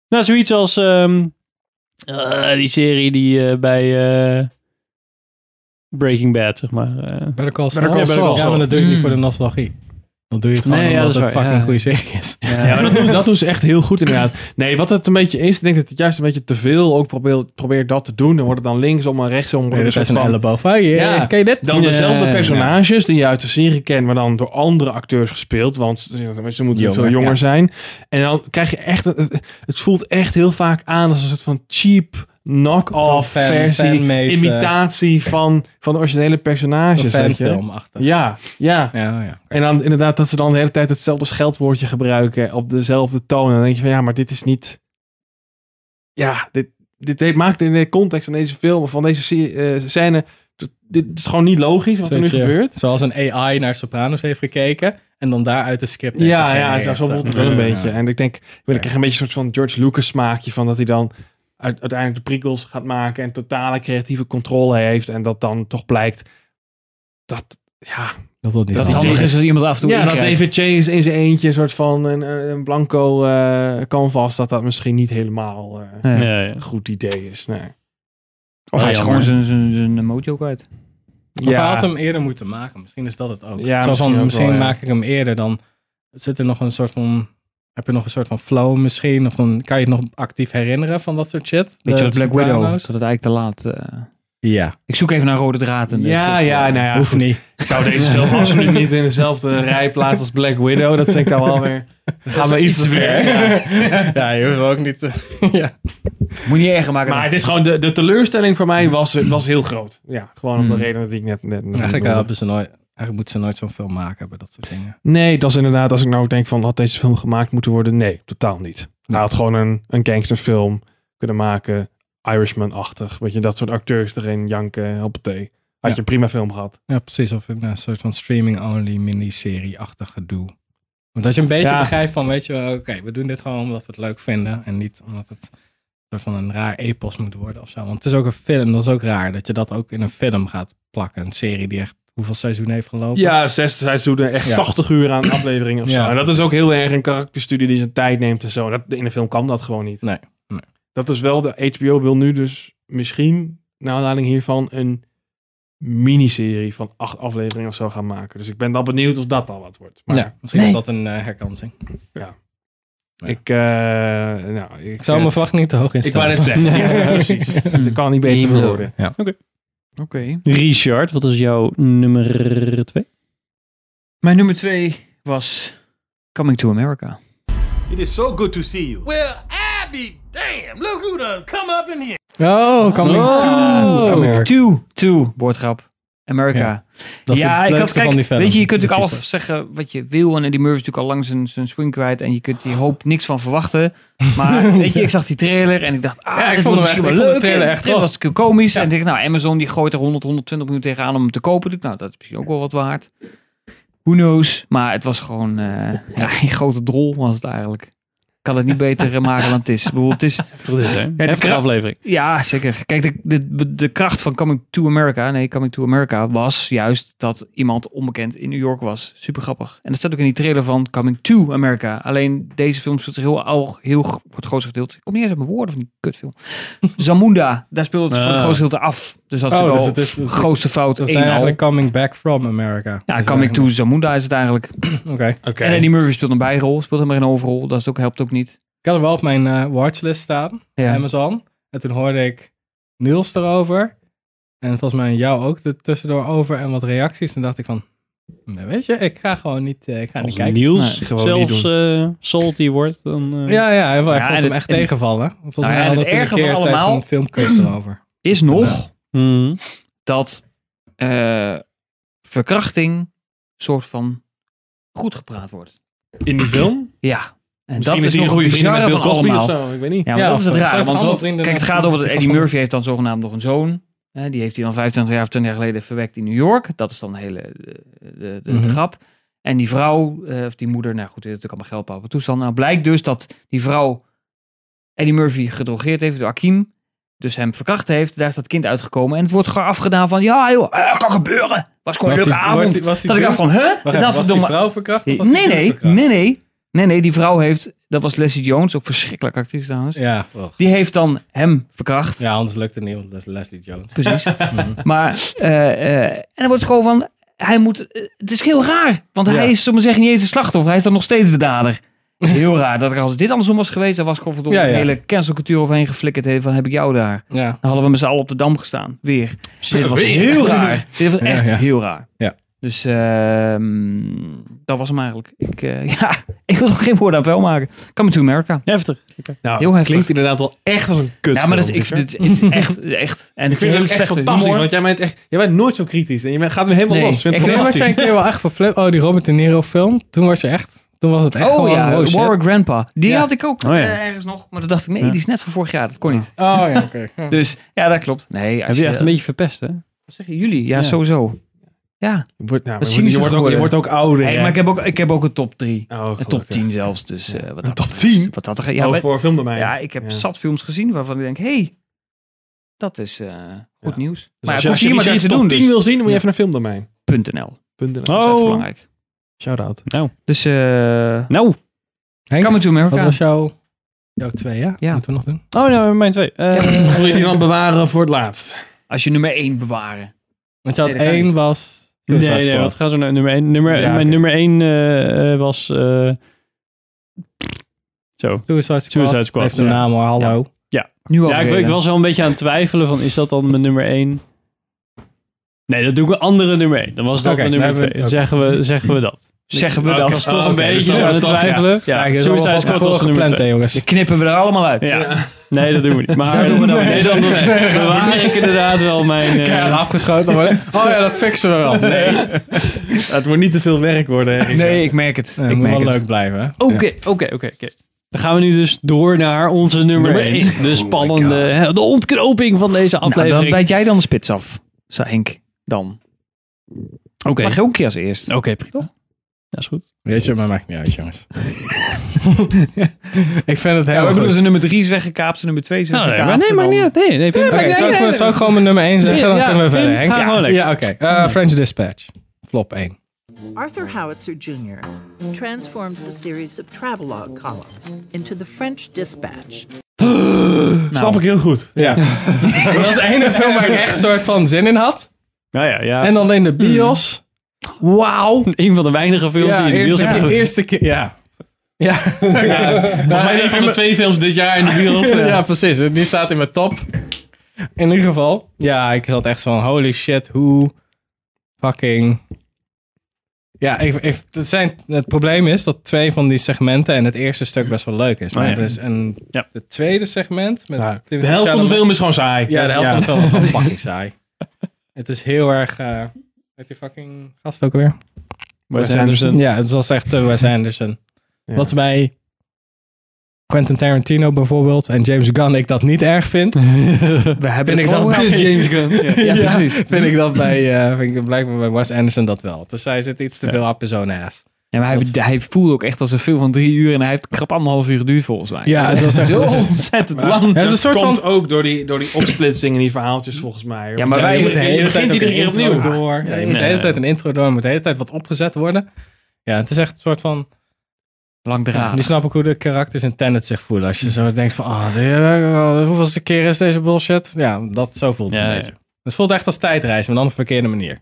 D: Nou, zoiets als ehm, eh, die serie die eh, bij eh, Breaking Bad, zeg maar... eh,
B: Better Call Saul.
D: Better Call
B: Ja, Better Call
D: Saul.
B: Saul. Ja, maar dat doe je niet
I: Mm.
B: voor de nostalgie. Dat doe je het gewoon
D: Hmm. Nee, ja,
B: omdat
D: dat
B: het
D: is waar,
B: fucking
D: ja.
B: een goede serie is.
A: Ja, maar dat doen, dat doen ze echt heel goed inderdaad. Nee, wat het een beetje is, ik denk dat het juist een beetje te veel ook probeert, probeert dat te doen. Dan wordt het dan linksom en rechtsom. wordt
B: Nee,
A: het
B: dit is
A: soort
B: een
A: van-
B: elleboog. Oh, yeah.
A: Ja,
B: Ken je dit?
A: Dan
B: Ja,
A: dezelfde
B: ja.
A: personages die je uit de serie kent, maar dan door andere acteurs gespeeld. Want ze- ze moeten
B: Jonger,
A: veel jonger
B: ja.
A: zijn. En dan krijg je echt, het, het voelt echt heel vaak aan als een soort van cheap knock-off
B: Fan-
A: versie,
B: fanmade, eh,
A: imitatie van, van de originele
B: Een
A: personages. Weet je?
B: fanfilm achter.
A: Ja, ja.
B: Ja, ja.
A: En dan inderdaad dat ze dan de hele tijd hetzelfde scheldwoordje gebruiken op dezelfde toon. En dan denk je van ja, maar dit is niet. Ja, dit, dit, dit maakt in de context van deze film, van deze se- eh, scène. dit- Dit is gewoon niet logisch wat er nu
B: Zoiets, ja.
A: gebeurt.
B: Zoals een AI naar Sopranos heeft gekeken en dan daaruit de script heeft
A: Ja, ja,
B: gegenereerd.
A: zo- zo voelt het wel
B: Ja,
A: een
B: eh, ja.
A: beetje. En ik denk, ik krijg een beetje een soort van George Lucas smaakje van dat hij dan uit- uiteindelijk de prequels gaat maken en totale creatieve controle heeft. En dat dan toch blijkt dat, ja,
B: Dat wordt niet
A: Dat
B: zo
A: die
B: handig.
A: tegen-
I: is als iemand af en toe
A: Ja, dat
I: ingrijpt.
A: David Chase in zijn eentje een soort van een, een blanco eh, canvas, dat dat misschien niet helemaal eh,
I: Ja.
D: ja, ja.
A: een goed idee is. Nee.
I: Of hij is
A: jammer.
I: gewoon zijn- zijn zijn mojo kwijt.
B: Of hij
A: Ja,
B: had hem eerder moeten maken. Misschien is dat het ook.
A: Ja,
B: Zoals
A: misschien
B: dan,
A: ook wel,
B: misschien,
A: ja.
B: maak ik hem eerder, dan zit er nog een soort van... Heb je nog een soort van flow misschien? Of dan kan je het nog actief herinneren van dat soort shit?
I: Beetje
B: De
I: als Black Widow. Dat
B: Sopranos.
I: het eigenlijk te laat... eh,
B: Ja.
I: ik zoek even naar rode draad. in de
A: ja,
I: vlog,
A: ja,
I: eh.
A: nou ja.
B: Hoeft
A: goed.
B: niet.
A: Ik zou deze film absoluut niet in dezelfde rij plaatsen als Black Widow. Dat zeg ik dan wel weer. Dan gaan we iets te ver. Ja.
B: ja, je hoeft ook niet... te- ja.
I: Moet je niet erger maken.
A: Maar
I: dan.
A: het is gewoon, de, de teleurstelling voor mij was, was heel groot. Ja, gewoon
B: Hmm.
A: om de redenen die ik net... net net
B: Eigenlijk, eh,
A: noemde.
B: hebben ze nooit, eigenlijk moeten ze nooit zo'n film maken bij dat soort dingen.
A: Nee, dat is inderdaad, als ik nou denk van had deze film gemaakt moeten worden, nee, totaal niet. Hij had gewoon een, een gangsterfilm kunnen maken, Irishman-achtig, weet je, dat soort acteurs erin janken, hoppatee. Had
B: Ja.
A: je een prima film gehad.
B: Ja, precies. Of een eh, soort van streaming-only miniserie-achtig gedoe. Want als je een beetje
A: Ja.
B: begrijpt van, weet je wel, oké, we doen dit gewoon omdat we het leuk vinden. En niet omdat het een soort van een raar epos moet worden of zo. Want het is ook een film, dat is ook raar. Dat je dat ook in een film gaat plakken. Een serie die echt hoeveel seizoenen heeft gelopen.
A: Ja, zes seizoenen, echt
B: Ja.
A: 80 uur aan afleveringen of zo.
B: Ja,
A: en dat is ook heel erg een karakterstudie die zijn tijd neemt en zo. Dat, in een film kan dat gewoon niet.
B: Nee, nee.
A: Dat is wel, de HBO wil nu dus misschien, naar aanleiding hiervan, een miniserie van acht afleveringen of zo gaan maken. Dus ik ben dan benieuwd of dat al wat wordt. Maar
B: Ja, misschien is dat een eh, herkansing. Ja.
A: Ik, eh, nou, ik,
B: Ik zou mijn verwachting niet te hoog
A: ik
B: instellen.
A: wou net zeggen. Ja, precies. Ze kan niet beter verwoorden.
B: Ja.
I: Oké.
D: Richard, wat is jouw nummer twee?
I: Mijn nummer twee was Coming to America.
L: It is so good to see you.
K: Well, I be damn. Look who done come up in here.
B: Oh, coming
I: Oh,
B: to America.
I: To, to, woordgrap. America.
B: Ja, Dat is het leukste van die film.
I: Weet je, je kunt
B: De
I: natuurlijk
B: titel.
I: alles zeggen wat je wil. En Eddie Murphy is natuurlijk al lang zijn, zijn swing kwijt. En je kunt die hoop niks van verwachten. Maar weet je, ik zag die trailer en ik dacht, ah,
B: Ja, ik
I: dit
B: vond
I: wordt
B: hem
I: misschien
B: echt- ik
I: wel
B: vond de
I: leuk.
B: trailer
I: En
B: echt
I: was
B: tof.
I: natuurlijk komisch.
B: Ja.
I: En ik denk, nou, Amazon die gooit er 100, 120 miljoen tegenaan om hem te kopen. Ik, nou, dat is misschien ook wel wat waard. Who knows? Maar het was gewoon, eh ja, een grote drol was het eigenlijk. Ik kan het niet beter eh, maken dan het is. Ik bedoel, het is
D: Heftige
I: kra-
D: aflevering.
I: ja, zeker. Kijk, de, de, de kracht van Coming to America, nee, Coming to America, was juist dat iemand onbekend in New York was. Super grappig. En dat staat ook in die trailer van Coming to America. Alleen deze film speelt zich heel oud, heel g- voor het grootste gedeelte. Ik kom niet eens uit mijn woorden van die kutfilm. Zamunda, daar speelt het voor het
D: Ah.
I: grootste gedeelte af. Dus dat
B: Oh,
I: is
B: dus
I: natuurlijk al
B: het is- het-
I: grootste fout.
B: Dat
I: één
B: zijn
I: al.
B: eigenlijk coming back from America.
I: Ja,
B: Is
I: Coming to
B: eigenlijk-
I: Zamunda is het eigenlijk.
B: Oké.
A: Oké.
I: En Eddie Murphy speelt een bijrol, speelt helemaal geen overrol. Dat is ook, helpt ook niet.
B: Ik had hem wel op mijn eh, watchlist staan,
I: Ja.
B: Amazon. En toen hoorde ik Niels erover. En volgens mij jou ook er tussendoor over en wat reacties. En dacht ik van, Nou, weet je, ik ga gewoon niet, eh, ik ga
D: Als
B: niet kijken.
D: Niels
B: Nee.
D: zelfs eh, salty wordt, dan... eh,
B: Ja, ja, hij, hij
D: en
B: vond
D: het-
B: hem echt
D: en-
B: tegenvallen. Volgens mij
I: Nou en
B: hadden we
I: het
B: toen een
I: erge van
B: keer tijdens
I: allemaal-
B: een filmquiz erover.
I: is nog
D: mhm.
I: dat eh, verkrachting soort van goed gepraat wordt.
A: In die film?
I: Ja. En
A: Misschien
I: dat
A: is
I: is
A: hij
I: nog
A: een goede
I: het
A: vriend met
I: bizarre
A: Bill
I: van
A: Cosby of
I: allemaal.
A: zo, ik weet niet.
I: Ja, maar
A: Ja,
I: dat is het
A: of-
I: raar.
A: zijn het
I: Want
A: allemaal
I: dat-
A: vrienden
I: kijk, het
A: van-
I: gaat over dat
A: van-
I: Eddie Murphy heeft dan zogenaamd nog een zoon. Hè, die heeft hij dan 25 jaar of 20 jaar geleden verwekt in New York. Dat is dan de hele de, de, de,
B: Mhm.
I: grap. En die vrouw, eh, of die moeder, nou goed, dit is natuurlijk allemaal geldpauper toestand. Nou blijkt dus dat die vrouw Eddie Murphy gedrogeerd heeft door Akim. Dus hem verkracht heeft. Daar is dat kind uitgekomen. En het wordt gewoon afgedaan van, ja joh, eh, kan gebeuren. Was gewoon een
B: Was
I: leuke
B: die- wordt
I: avond.
B: die- was die
I: dat ik dacht
B: dude-
I: van, huh?
B: Wacht even, was die vrouw verkracht of was die
I: nee,
B: dude
I: nee,
B: verkracht?
I: nee, nee. Nee, nee, die vrouw heeft, dat was Leslie Jones, ook verschrikkelijk actrice trouwens.
B: Ja,
I: Die heeft dan hem verkracht.
B: Ja, anders lukt het niet, want dat is Leslie Jones.
I: Precies. maar, eh, eh, en dan wordt het gewoon van, hij moet, eh, het is heel raar. Want hij is, om te zeggen, niet eens een slachtoffer. Hij is dan nog steeds de dader. Het is Heel raar. Dat ik, als dit andersom was geweest, dan was ik gewoon verdomme
B: Ja,
I: de
B: ja.
I: hele cancelcultuur overheen geflikkerd. Hey, van, heb ik jou daar?
B: Ja.
I: Dan hadden we met z'n allen op de dam gestaan. Weer. Dit was
B: Weer.
I: heel raar. Dit was
B: Ja,
I: echt
B: ja.
I: heel raar.
B: Ja.
I: Dus ehm, dat was hem eigenlijk. Ik, eh, ja, ik wil nog geen woorden aan vuil maken. Coming to America.
D: Heftig.
A: Nou,
I: heel heftig.
A: klinkt inderdaad wel echt als een kut.
I: Ja, maar dat, ik, dit, dit, echt, echt. En
A: ik vind het ook echt fantastisch, want jij bent, echt, jij bent nooit zo kritisch. En je bent, gaat hem helemaal
I: Nee,
A: los. Vind
I: ik
A: het
I: vind-
B: Toen was
A: fantastisch.
B: jij een keer wel echt verflipt. Oh, die Robert De Niro film. Toen was je echt... Toen was het echt
I: oh
B: gewoon...
I: ja,
B: shit.
I: Warwick Grandpa. Die
B: Ja.
I: had ik ook
B: Oh ja.
I: eh, ergens nog. Maar toen dacht ik, nee,
B: Ja.
I: die is net van vorig jaar. Dat kon niet.
B: Oh ja, oké.
I: Dus ja, dat klopt. Nee,
D: Heb je echt een beetje verpest, hè?
I: zeggen jullie? Ja,
D: Ja.
I: sowieso. Ja.
A: Je
I: Wat
A: wordt, nou, maar je wordt- je,
I: cynischer
A: wordt ook, je
I: geworden.
A: wordt ook ouder.
I: Hey,
A: hè?
I: maar ik heb, ook, ik heb ook een top 3. een top
A: gelukkig.
I: 10 zelfs. Dus, eh, wat dat
A: top
I: betreft-
A: 10?
I: Wat dat er, ja,
A: Oh,
I: maar-
A: voor film bij mij.
I: ja, ik heb zat films gezien waarvan ik denk, hey, dat is eh, goed nieuws.
A: Dus als,
I: ja,
A: je, als je
I: het hoeft
A: iets
I: hier
A: in
I: maar
A: top 10
I: dus. Oh.
A: wil zien, dan moet je even naar filmdomein.
I: .nl.
A: Punten.
I: dus Dat is even belangrijk.
A: Shout-out.
D: Nou.
I: Dus, eh
D: Nou.
B: Henk,
I: Coming to America.
B: Dat was jouw... Jouw twee, ja?
I: Ja.
B: Moeten we nog doen?
D: Oh, nou, mijn twee. Eh,
A: Wil je die dan bewaren voor het laatst?
I: Als je nummer 1 bewaren.
B: Want je had
I: Nee, dat kan
B: één
I: niet.
B: was...
D: Nee, nee, wat gaan ze naar nummer 1? Nummer,
B: Ja,
D: mijn
B: oké.
D: nummer 1 was. eh, zo.
B: Suicide Squad.
D: Suicide Squad,
B: Heeft een
D: ja.
B: naam hoor, hallo.
D: Ja.
I: Nu al
D: ja ik, ik
I: vergeten.
D: was wel een beetje aan het twijfelen van is dat dan mijn nummer 1? Nee, dat doe ik een andere nummer 1. Dan was dat
B: Oké,
D: mijn nummer
B: dan
D: 2.
B: hebben we-
D: Zeggen, we, zeggen we dat.
I: Zeggen we
D: Ik
I: dat.
D: was toch
A: Oh,
D: een
A: oké, dus
D: beetje
A: dan-
D: aan het
A: toch, ja.
D: twijfelen. Ja,
B: Kijk, dat is
D: Suicide
B: wel
D: Squad
B: van
D: was
B: tevoren
D: nummer
B: gepland, hè,
D: 2.
B: jongens.
I: Die knippen we er allemaal uit.
D: Ja. Nee, dat doen we niet. Maar
I: doen we dan
D: nee,
I: niet.
D: dan bewaar ik inderdaad wel mijn... eh,
B: Keihard afgeschoten worden. Oh ja, dat fixen we wel. Nee,
A: Het wordt niet te veel werk worden.
I: Nee, ik merk het.
B: nee
I: ik
B: moet
I: merk
B: wel
I: het. Oh.
B: leuk blijven. hè?
D: Oké, oké, oké. oké. Dan gaan we nu dus door naar onze nummer
B: Nummer
D: 1. De spannende, hè, de ontknoping van deze
I: Nou, dan
D: aflevering.
I: bijt jij dan de spits af, zei Henk. Dan.
D: Oké,
I: Mag je ook een keer als eerst.
D: Oké, prima. Ja, is goed.
B: Weet je, maar maakt niet uit, jongens. ik vind het
I: Ja,
B: heel
I: we bedoelen
B: goed.
I: zijn nummer 3 is weggekaapt, zijn nummer 2 is
D: Nou, nee, maar
I: weggekaapt.
D: nee,
I: en
D: maar niet
I: dan-
D: uit. Nee, nee, prima.
B: Oké, zou, ik, zou ik gewoon mijn nummer 1 zeggen?
D: Ja,
B: Dan
D: ja,
B: kunnen we
D: Pim,
B: verder, Henk.
D: ga gewoon
B: Ja,
D: lekker.
B: ja oké. Eh, French Dispatch. Flop 1.
M: Arthur Howitzer Jr. transformed the series of travelogue columns into the French Dispatch.
A: Snap ik heel goed.
B: Ja. dat was de enige film waar ik echt soort van zin in had.
D: Nou ja, ja.
B: En alleen de bios. Wauw.
D: een van de weinige films
B: Ja,
D: die in Mm. de bios
B: eerste,
D: hebben
B: keer-
D: gezien.
B: eerste keer. Ja. Ja.
A: Volgens mij een van de twee films dit jaar in de wereld.
B: ja, precies. Die staat in mijn top. In ieder geval. Ja, ik had echt zo'n holy shit, hoe fucking... Ja, ik, ik- het, zijn, het probleem is dat twee van die segmenten en het eerste stuk best wel leuk is. Maar
A: Oh ja.
B: er is een,
D: Ja.
B: het tweede segment... Met
A: Ja, De
B: Timothée
A: helft van de
B: Chalamet-
A: film is gewoon saai.
B: Ja, de helft van de film is gewoon fucking saai. Het is heel erg... eh heet die fucking gast ook weer?
D: Wes
A: Wes
D: Anderson.
B: dus Ja, het was echt eh, Wes Anderson.
A: Ja.
B: Wat bij Quentin Tarantino bijvoorbeeld en James Gunn ik dat niet erg vind.
I: We hebben
B: Vind ik
I: het
B: dat
I: gewoon
B: bij
I: wel.
B: James Gunn. Ja,
I: Ja, precies.
B: Vind ik dat bij, eh, vind ik blijkbaar bij Wes Anderson dat wel. Dus hij zit iets te veel op in zo'n ass.
I: Ja, maar hij,
B: Dat-
I: hij voelde ook echt als een film van drie uur en hij heeft krap anderhalf uur geduurd volgens mij.
B: Ja, het was echt
I: zo
B: het is-
I: ontzettend lang.
B: het is een
A: Dat
B: soort
A: komt
B: van...
A: ook door die, door die opsplitsing en die verhaaltjes volgens mij.
I: Ja, maar
A: Want
I: wij
A: je-
I: moeten
A: je-
B: hele
A: je begint
B: tijd ook
A: iedere
B: een
A: keer
B: intro
A: opnieuw.
B: Door. Ja, je moet de
A: Nee.
B: hele tijd een intro door, je moet de hele tijd wat opgezet worden. Ja, het is echt een soort van... Ja, nu
I: Langdradig.
B: snap ik hoe de karakters in Tenet zich voelen. Als je zo denkt van, ah, de- hoeveelste keer is deze bullshit? Ja, dat, zo voelt het
D: Ja,
B: een
D: ja.
B: beetje. Het voelt echt als tijdreis, maar dan op een verkeerde manier.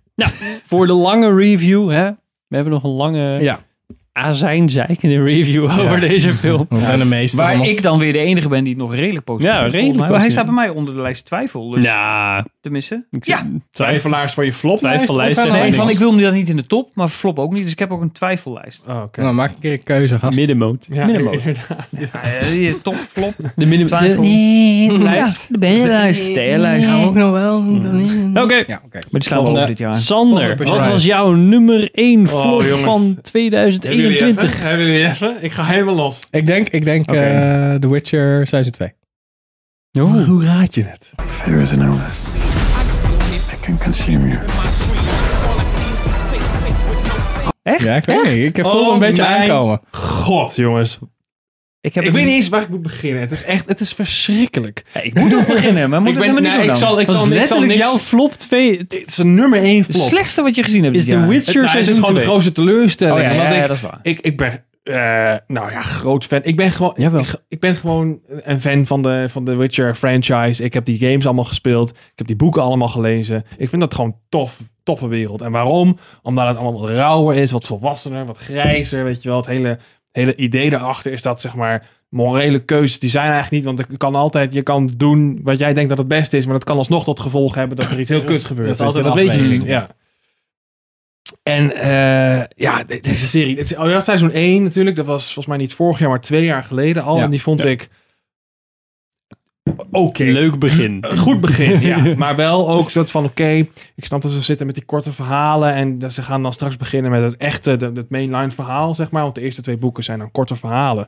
D: Voor de lange review, hè. We hebben nog een lange...
B: Ja.
D: azijn zeikende review over deze film.
B: Dat zijn de meeste.
I: Waar ik dan weer de enige ben die het nog Dus redelijk positief
D: Ja,
I: is, volgens
D: redelijk
I: mij. Maar hij
D: positief.
I: staat bij mij onder de lijst twijfel. Dus
D: Ja.
I: Tenminste. Ja.
A: Twijfelaars van je flop.
I: Twijfellijst. Nee, van ik wil hem dan niet in de top, maar flop ook niet. Dus ik heb ook een twijfellijst.
A: Oh, oké.
B: Nou, maak een keer een keuze, gast.
D: Middenmoot.
A: Ja,
I: Middenmoot.
A: inderdaad.
I: Ah, je top, flop.
D: De minimum.
I: Twijfel.
D: Nee,
I: Ja,
D: lijst.
I: de B-lijst.
D: B-lijst.
I: Ja, ook
B: nog wel.
D: Oké.
I: Maar die staan wel over dit jaar.
D: Sander,
A: Oh, Volgende
D: wat
A: persoon.
D: was jouw nummer 1
A: Oh,
D: flop
A: jongens.
D: van 2021?
A: Hebben jullie even? Ik ga helemaal los.
B: Ik denk, ik denk
A: Oké.
B: eh, The Witcher seizoen 2.
A: Hoe raad je het?
N: There is an illness that can consume you.
I: Echt?
B: Ja, ik weet niet. Ik voel hem een beetje
A: mijn
B: aankomen.
A: God, jongens.
I: Ik,
A: ik weet niet eens waar ik moet beginnen. Het is echt, het is verschrikkelijk.
I: ik moet nog beginnen, maar moet
A: ik
I: het
A: ben-
I: helemaal
A: nee,
I: niet
A: ik
I: doen
A: zal,
I: dan.
A: ik
I: Dat
A: zal,
I: is
A: ik zal
I: letterlijk
A: niks...
I: jouw
D: flop 2.
A: Het is een nummer 1
I: Het
A: flop.
I: slechtste wat je gezien hebt
A: is
I: dit
A: The
I: jaar.
A: Witcher
I: Het- nou,
A: seizoen
I: Het is
A: gewoon de grootste teleurstelling.
I: Oh, ja,
A: want
I: ja, ja,
A: ik,
I: dat is waar.
A: Ik, ik ben, eh, nou ja, groot fan. Ik ben gewoon, ik, ik ben gewoon een fan van de, van de Witcher franchise. Ik heb die games allemaal gespeeld. Ik heb die boeken allemaal gelezen. Ik vind dat gewoon tof, toffe wereld. En waarom? Omdat het allemaal wat rauwer is, wat volwassener, wat grijzer, weet je wel. Het hele, hele idee daarachter is dat, zeg maar, morele keuzes, die zijn eigenlijk niet. Want je kan altijd, je kan doen wat jij denkt dat het beste is, maar dat kan alsnog tot gevolg hebben dat er iets heel
B: Dat is-
A: kuts gebeurt.
B: dat is
A: weet je.
B: altijd
A: dat
B: een
A: weet je niet.
B: afweging.
A: Ja. En eh, ja, de- deze serie. Het, oh ja, seizoen 1 natuurlijk. Dat was volgens mij niet vorig jaar, maar twee jaar geleden al.
B: Ja.
A: En die vond
B: Ja.
A: ik... Oké.
D: Leuk begin.
A: Een Goed begin, ja. Maar wel ook een soort van, oké, ik snap dat ze zitten met die korte verhalen en dat ze gaan dan straks beginnen met het echte, de- het mainline verhaal, zeg maar. Want de eerste twee boeken zijn dan korte verhalen.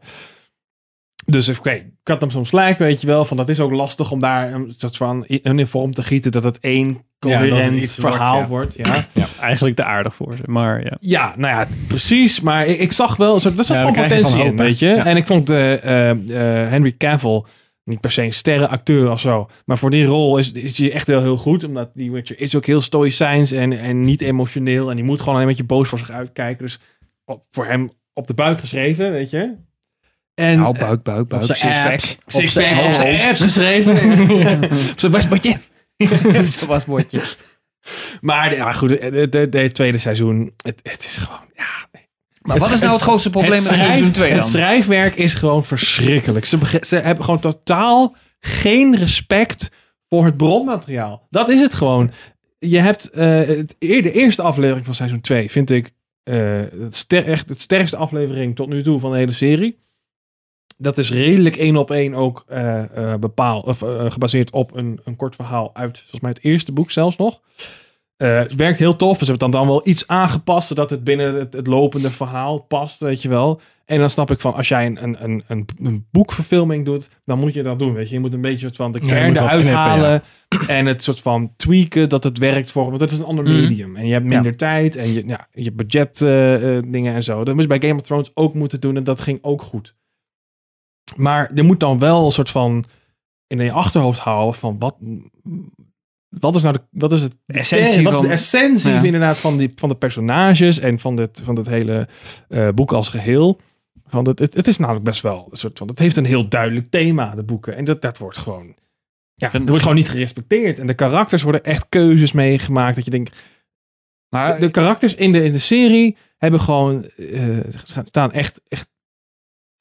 A: Dus oké, ik had hem soms lijk, weet je wel, van dat is ook lastig om daar een soort van in een vorm te gieten dat het één
D: Ja, dat het
A: coherent
D: iets wordt,
A: verhaal
D: ja.
A: wordt. Ja.
D: Eigenlijk te aardig voor ze, maar ja.
A: Ja, nou ja, precies. Maar ik, ik zag wel, er zat
D: Ja,
A: gewoon
D: daar krijg je
A: potentie
D: van
A: in,
D: hoop, hè?
A: weet je.
D: Ja.
A: En ik vond eh, eh, eh, Henry Cavill niet per se een sterrenacteur of zo. Maar voor die rol is, is hij echt wel heel goed. Omdat die Witcher is ook heel stoïcijns en, en niet emotioneel. En die moet gewoon alleen een beetje boos voor zich uitkijken. Dus op- voor hem op de buik geschreven, weet je. En,
I: Nou, buik, buik, buik.
A: zijn
I: sixpack.
A: apps.
I: Op zijn
A: Sixpack, op zijn
I: apps.
A: apps geschreven. op zijn wasbordje.
I: Dat was woordje.
A: Maar ja, goed, de- de- de- de tweede seizoen, het, het is gewoon...
I: Maar wat is nou het grootste probleem met
A: schrijf-
I: seizoen twee dan?
A: Het schrijfwerk is gewoon verschrikkelijk. Ze, bege- ze hebben gewoon totaal geen respect voor het bronmateriaal. Dat is het gewoon. Je hebt eh, het, eer- de eerste aflevering van seizoen 2, vind ik eh, het ster- echt het sterkste aflevering tot nu toe van de hele serie. Dat is redelijk één op één ook eh, eh, bepaal, of, eh, gebaseerd op een, een kort verhaal uit volgens mij het eerste boek zelfs nog. Eh, het werkt heel tof. Ze hebben het dan, dan wel iets aangepast, zodat het binnen het, het lopende verhaal past, weet je wel. En dan snap ik van, als jij een, een, een, een, een boekverfilming doet, dan moet je dat doen, weet je. Je moet een beetje soort van de
B: Ja, je
A: kern
B: moet wat
A: eruit
B: knippen, ja.
A: halen en het soort van tweaken dat het werkt voor... Want het is een ander
B: Mhm.
A: medium en je hebt minder tijd en je, ja, je hebt budget eh, eh, dingen en zo. Dat moest je bij Game of Thrones ook moeten doen en dat ging ook goed. Maar je moet dan wel een soort van in je achterhoofd houden van wat, wat is nou de, wat is het, de
I: essentie
A: kern, wat is
I: van-
A: de essentie
I: Ja.
A: inderdaad van, die, van de personages en van dit, van dit hele eh, boek als geheel. Want het, het, het is namelijk best wel een soort van, het heeft een heel duidelijk thema, de boeken. En dat, dat wordt gewoon, ja, dat wordt gewoon niet gerespecteerd. En de karakters worden echt keuzes meegemaakt dat je denkt, de, de karakters in de, in de serie hebben gewoon, eh, staan echt, echt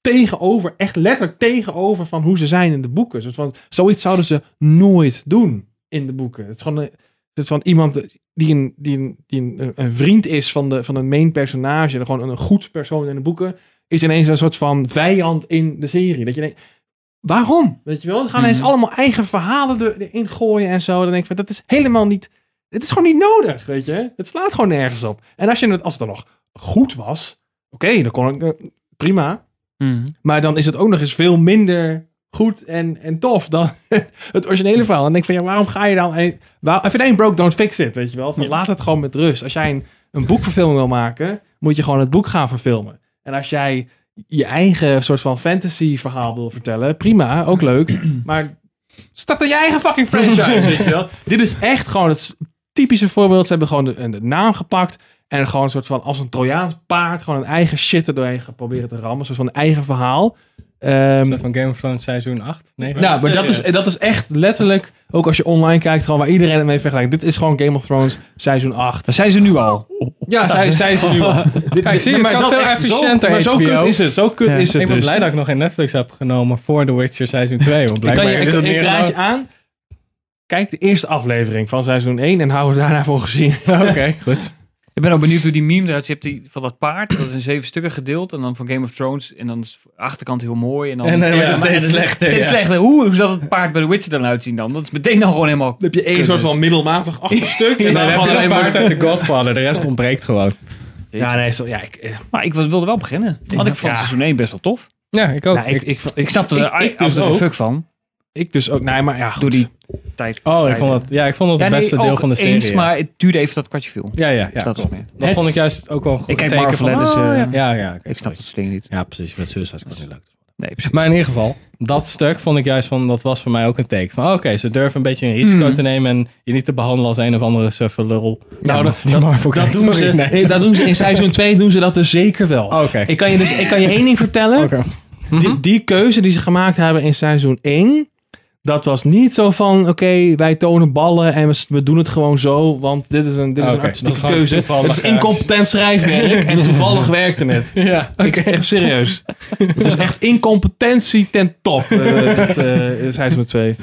A: tegenover, echt letterlijk tegenover van hoe ze zijn in de boeken. Dus van, zoiets zouden ze nooit doen in de boeken. Het is gewoon, een- het is van iemand die, een, die, een, die een, een vriend is van, de, van een main personage, gewoon een, een goed persoon in de boeken, is ineens een soort van vijand in de serie. Dat je denkt, waarom? Weet je wel, ze gaan ineens allemaal eigen verhalen er, erin gooien en zo. Dan denk ik van, dat is helemaal niet, het is gewoon niet nodig, weet je. Het slaat gewoon nergens op. En als, je het, als het dan nog goed was, oké, dan kon ik, eh, prima. Maar dan is het ook nog eens veel minder goed en, en tof dan het originele verhaal. En dan denk ik van, ja, waarom ga je dan... eh, Waar, if it ain't broke, don't fix it, weet je wel. Van, Laat het gewoon met rust. Als jij een, een boekverfilming wil maken, moet je gewoon het boek gaan verfilmen. En als jij je eigen soort van fantasy verhaal wil vertellen, prima, ook leuk. maar staat in je eigen fucking franchise, weet je wel. Dit is echt gewoon het typische voorbeeld. Ze hebben gewoon de, de naam gepakt en gewoon een soort van als een Trojaans paard gewoon een eigen shit er doorheen geprobeerd te rammen. Een soort van eigen verhaal. Eh,
B: Is dat van Game of Thrones seizoen 8? Nee,
A: Nou, maar dat is, dat is echt letterlijk, ook als je online kijkt, gewoon waar iedereen het mee vergelijkt. Dit is gewoon Game of Thrones seizoen 8.
I: zijn ze nu al.
A: Ja, zij, zijn ze nu al. Dit-
B: Kijk, zie je,
A: nee,
B: het
A: maar
B: kan
A: dat
B: veel
A: echt zo-
B: efficiënter
A: Maar zo
B: HBO.
A: kut is het, zo kut
B: Ja.
A: is het
B: Ik ben
A: dus.
B: blij dat ik nog geen Netflix heb genomen voor The Witcher seizoen 2. Want
A: Ik
B: blijkbaar
A: kan je,
B: is
A: ik,
B: het
A: ik
B: meer
A: raad
B: gewoon-
A: je aan. Kijk de eerste aflevering van seizoen 1 en hou het daarna voor gezien. Oké,
B: goed.
I: Ik ben ook benieuwd hoe die meme eruit ziet. Je hebt die van dat paard, dat is in zeven stukken gedeeld. En dan van Game of Thrones. En dan is de achterkant heel mooi. En dan,
B: En dan wordt het
I: maar-
B: steeds
I: en dan-
B: slechter,
I: steeds
B: ja.
I: slechter. Hoe, hoe zal het paard bij The Witcher dan uitzien dan? Dat is meteen dan gewoon helemaal...
A: heb je één soort van middelmatig achterstuk.
B: Nee, dan
A: en dus. dan
B: heb
A: gewoon
B: je een
A: alleen
B: paard
A: maar-
B: uit The Godfather. De rest ontbreekt gewoon.
A: Ja, nee, zo, ja, ik, eh,
I: Maar ik wilde wel beginnen. Want ik vond
A: Ja.
I: seizoen 1 best wel tof.
B: Ja, ik ook.
A: Nou, ik, ik,
I: Ik snapte er absoluut
A: ik dus
I: geen
A: ook.
I: fuck van.
A: Ik dus ook. Nee, maar ja, goed.
I: Door die tijd.
B: Oh, ik vond dat, ja, ik vond dat het
I: Ja, nee,
B: beste deel
I: ook
B: van de serie.
I: eens,
B: ja.
I: maar het duurde even dat kwartje viel.
B: Ja, ja, ja.
I: Dat
B: Dat,
I: is meer.
B: dat vond ik juist ook wel een goed
I: Ik kijk
B: teken
I: Marvel,
B: van,
I: hè, dus,
B: oh,
I: eh,
B: ja. Ja, ja, oké,
I: Ik snap
B: sorry.
I: dat soort dingen niet.
B: Ja, precies. Met Suicide Squad niet leuk.
I: Nee, precies.
B: Maar in ieder geval, dat stuk vond ik juist van, dat was voor mij ook een teken van, oh, oké, ze durven een beetje een risico
A: Hmm.
B: te nemen en je niet te behandelen als een of andere sufferlul.
A: Nou, dat,
B: Die
A: dat-
B: Marvel
A: dat
B: kijkt,
A: doen
B: sorry,
A: ze,
B: nee. Oh,
A: nee, dat doen ze in seizoen 2 doen ze dat dus zeker wel.
B: Oké.
A: Ik kan je dus ik kan je één ding vertellen. Mhm. die, die keuze die ze gemaakt hebben in seizoen 1, dat was niet zo van oké, wij tonen ballen en we, s- we doen het gewoon zo, want dit is een, dit is
B: Oké,
A: een artistieke
B: dat is gewoon
A: keuze.
B: toevallig,
A: Het is
B: eh,
A: incompetent schrijfwerk en toevallig werkte het.
B: Ja,
A: Ik, echt serieus. het is echt incompetentie ten top. eh, dat, eh, seizoen 2.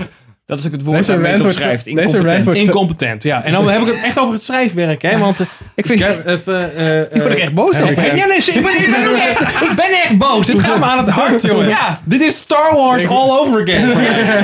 I: Dat is ook het
B: Deze
I: waarmee
B: rant
I: het
B: wordt-
I: omschrijft.
B: deze rant
I: Incompetent.
B: wordt-
A: Incompetent, ja. En dan heb ik het echt over het schrijfwerk, hè? Want eh,
I: Ik vind-
A: heb even, eh, eh,
I: word ik echt boos
A: heb
I: op.
A: ik- Ja, nee, ik ben, ik ben ook echt, ik ben echt boos. Dit gaat me aan het hart, jongen.
I: Ja.
A: Dit is Star Wars all over again.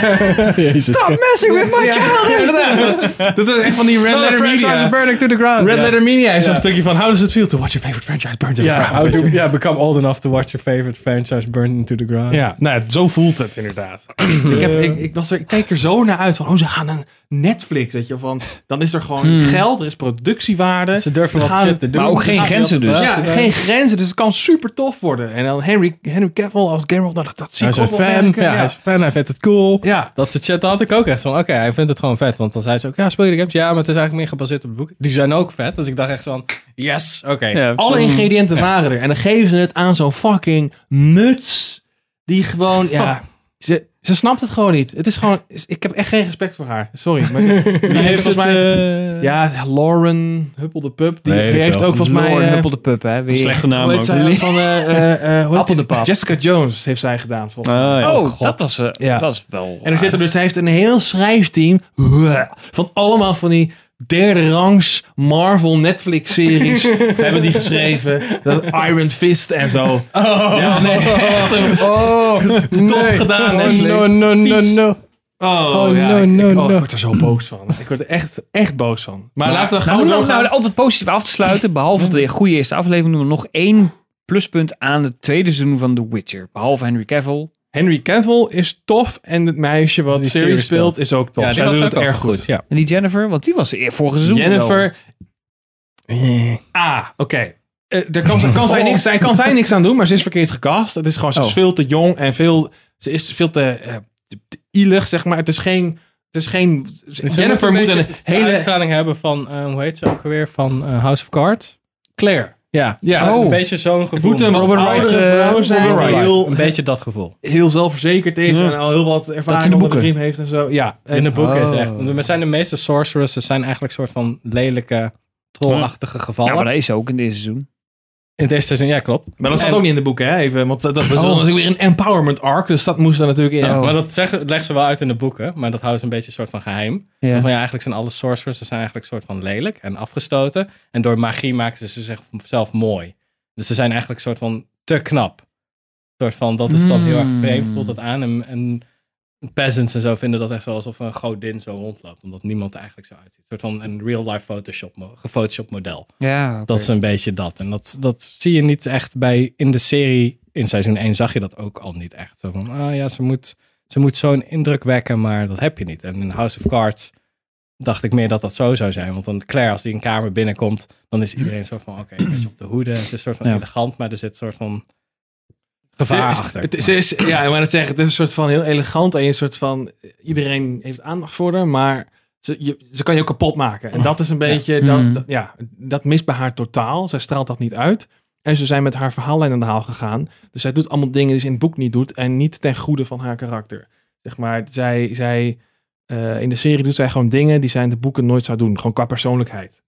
B: Jezus.
I: Stop messing with my
A: Ja,
I: childhood!
A: inderdaad. Dat is echt van die Red
B: Another
A: Letter
B: franchise
A: Media.
B: burning to the ground.
A: Red
B: Ja.
A: Letter Media is
B: Ja.
A: zo'n stukje van... How does it feel to watch your favorite franchise burn to the
B: Ja,
A: ground?
B: how do, ja, become old enough to watch your favorite franchise burn into the ground.
A: Ja, nou, ja, zo voelt het inderdaad. Eh. ik, heb, ik, ik, was er, ik keek er zo naar uit van, oh, ze gaan een Netflix, weet je, van, dan is er gewoon
B: Hmm.
A: geld, er is productiewaarde.
B: Ze durven wat
A: gaan-
B: shit te doen.
A: maar ook geen
B: Ze gaan
A: grenzen
B: heel
A: dus. Ja,
B: bedacht te zijn.
A: geen grenzen, dus het kan super tof worden. En dan Henry, Henry Cavill als Geralt, nou, dat, dat zie
B: Hij
A: ik
B: is een
A: ook wel
B: fan,
A: werken,
B: ja, hij is een fan, hij vindt het cool.
A: Ja.
B: Dat soort shit, dat had ik ook echt van, oké, hij vindt het gewoon vet. Want dan zei ze ook, ja, speel je de games? Ja, maar het is eigenlijk meer gebaseerd op het boek. Die zijn ook vet, dus ik dacht echt van, yes, oké.
A: Alle ingrediënten waren er. En dan geven ze het aan zo'n fucking nuts. Die gewoon, ja. Ze, ze snapt het gewoon niet. Het is gewoon. is- Ik heb echt geen respect voor haar. Sorry. Maar ze, ze heeft volgens mij.
D: eh,
A: ja, Lauren Huppel de Pup. Die,
B: Nee,
A: die
B: weet ik
A: heeft
B: wel.
A: ook volgens mij.
I: Lauren
A: eh,
I: Huppel de Pup, hè. Weer.
A: slechte hoe heet zij ook? Van, eh, eh, eh, hoe heet
I: Appel de
A: die?
I: Pap.
A: Jessica Jones heeft zij gedaan.
D: Nou,
A: Volgens mij.
I: Oh,
B: Oh, god.
I: dat was, eh,
A: Ja.
I: dat is wel...
A: En er zitten dus, hij heeft een heel schrijfteam van allemaal van die derde rangs Marvel Netflix series hebben die geschreven. Dat Iron Fist en zo. Oh, ja, nee, echt een- top gedaan. Netflix.
B: no, no, no, no.
A: Oh,
B: Oh,
A: ja,
B: no,
A: ik,
B: no,
A: ik- oh,
B: no.
A: ik word er zo boos van. Ik word er echt, echt boos van. Maar, laten we
I: Nou,
A: gewoon
I: om
A: doorgaan.
I: nou op het positieve af te sluiten, behalve de goede eerste aflevering, noemen we nog één pluspunt aan het tweede seizoen van The Witcher. Behalve Henry Cavill.
A: Henry Cavill is tof en het meisje wat
B: Die
A: die
B: serie
A: serie speelt is ook tof.
B: Ja, die
A: Zij
B: was
A: doet
B: ook
A: het erg goed.
B: Ja.
I: En die Jennifer, want die was eer vorige seizoen.
A: Jennifer, Ah, oké. Eh, daar kan, ze- kan zij niks, zij, kan zij niks aan doen, maar ze is verkeerd gecast. Het is gewoon, ze is
I: Oh.
A: veel te jong en veel, ze is veel te, eh, te- te ilig, zeg maar. Het is geen, het is geen, Jennifer moet een,
B: hele
A: hele,
B: uitstraling hebben van, eh, hoe heet ze ook alweer, van eh, House of Cards.
A: Claire.
B: Ja,
A: Ja.
B: Zo, een
A: Oh.
B: beetje zo'n gevoel.
A: Moet een wat
B: Robert
A: oudere
B: Wright, eh,
A: vrouw zijn.
B: Robert Wright.
A: Heel-
B: Een beetje dat gevoel.
A: heel zelfverzekerd is en al heel wat
I: Dat is
A: ervaring
I: in de
A: onder de
I: boeken.
A: riem heeft en zo. Ja. En, eh,
B: In de boeken is
I: Oh.
B: echt. We zijn de meeste sorceresses zijn eigenlijk soort van lelijke, trollachtige gevallen.
I: Ja, maar dat is ze ook in dit seizoen.
B: In deze seizoen, ja, klopt.
A: maar dat staat
B: en-
A: ook niet in de boeken, hè? Even, want dat, dat was
B: Oh.
A: natuurlijk weer een empowerment arc, dus dat moest er natuurlijk in.
B: Ja,
I: Oh.
B: Maar dat zeggen, leggen ze wel uit in de boeken, maar dat houdt ze een beetje een soort van geheim.
I: Ja.
B: Van ja, eigenlijk zijn alle sorceresses zijn eigenlijk een soort van lelijk en afgestoten. En door magie maken ze zichzelf mooi. Dus ze zijn eigenlijk een soort van te knap. Een soort van, dat is dan heel erg
I: Mm.
B: vreemd, voelt dat aan. En, en peasants en zo vinden dat echt wel alsof een godin zo rondloopt, omdat niemand er eigenlijk zo uitziet. Een soort van een real-life Photoshop, mo- gefotoshopt model.
I: Ja, oké.
B: Dat is een beetje dat. En dat, dat zie je niet echt bij in de serie. In seizoen 1 zag je dat ook al niet echt. Zo van, ah ja, ze moet, ze moet zo'n indruk wekken, maar dat heb je niet. En in House of Cards dacht ik meer dat dat zo zou zijn. Want dan Claire, als die een kamer binnenkomt, dan is iedereen zo van, oké, een beetje op de hoede. En ze is een soort van
I: Ja.
B: elegant, maar er zit een soort van gevaar
A: Ze is-
B: achter.
A: Het, ze is, ja, maar dat zeggen, het is een soort van heel elegant en je soort van iedereen heeft aandacht voor haar, maar ze, je, ze kan je ook kapot maken. En dat is een beetje,
I: Mhm.
A: dat, dat- ja, dat mist bij haar totaal. Zij straalt dat niet uit. En ze zijn met haar verhaallijn aan de haal gegaan. Dus zij doet allemaal dingen die ze in het boek niet doet. En niet ten goede van haar karakter. Zeg maar, zij, zij, eh, in de serie doet zij gewoon dingen die zij in de boeken nooit zou doen. Gewoon qua persoonlijkheid.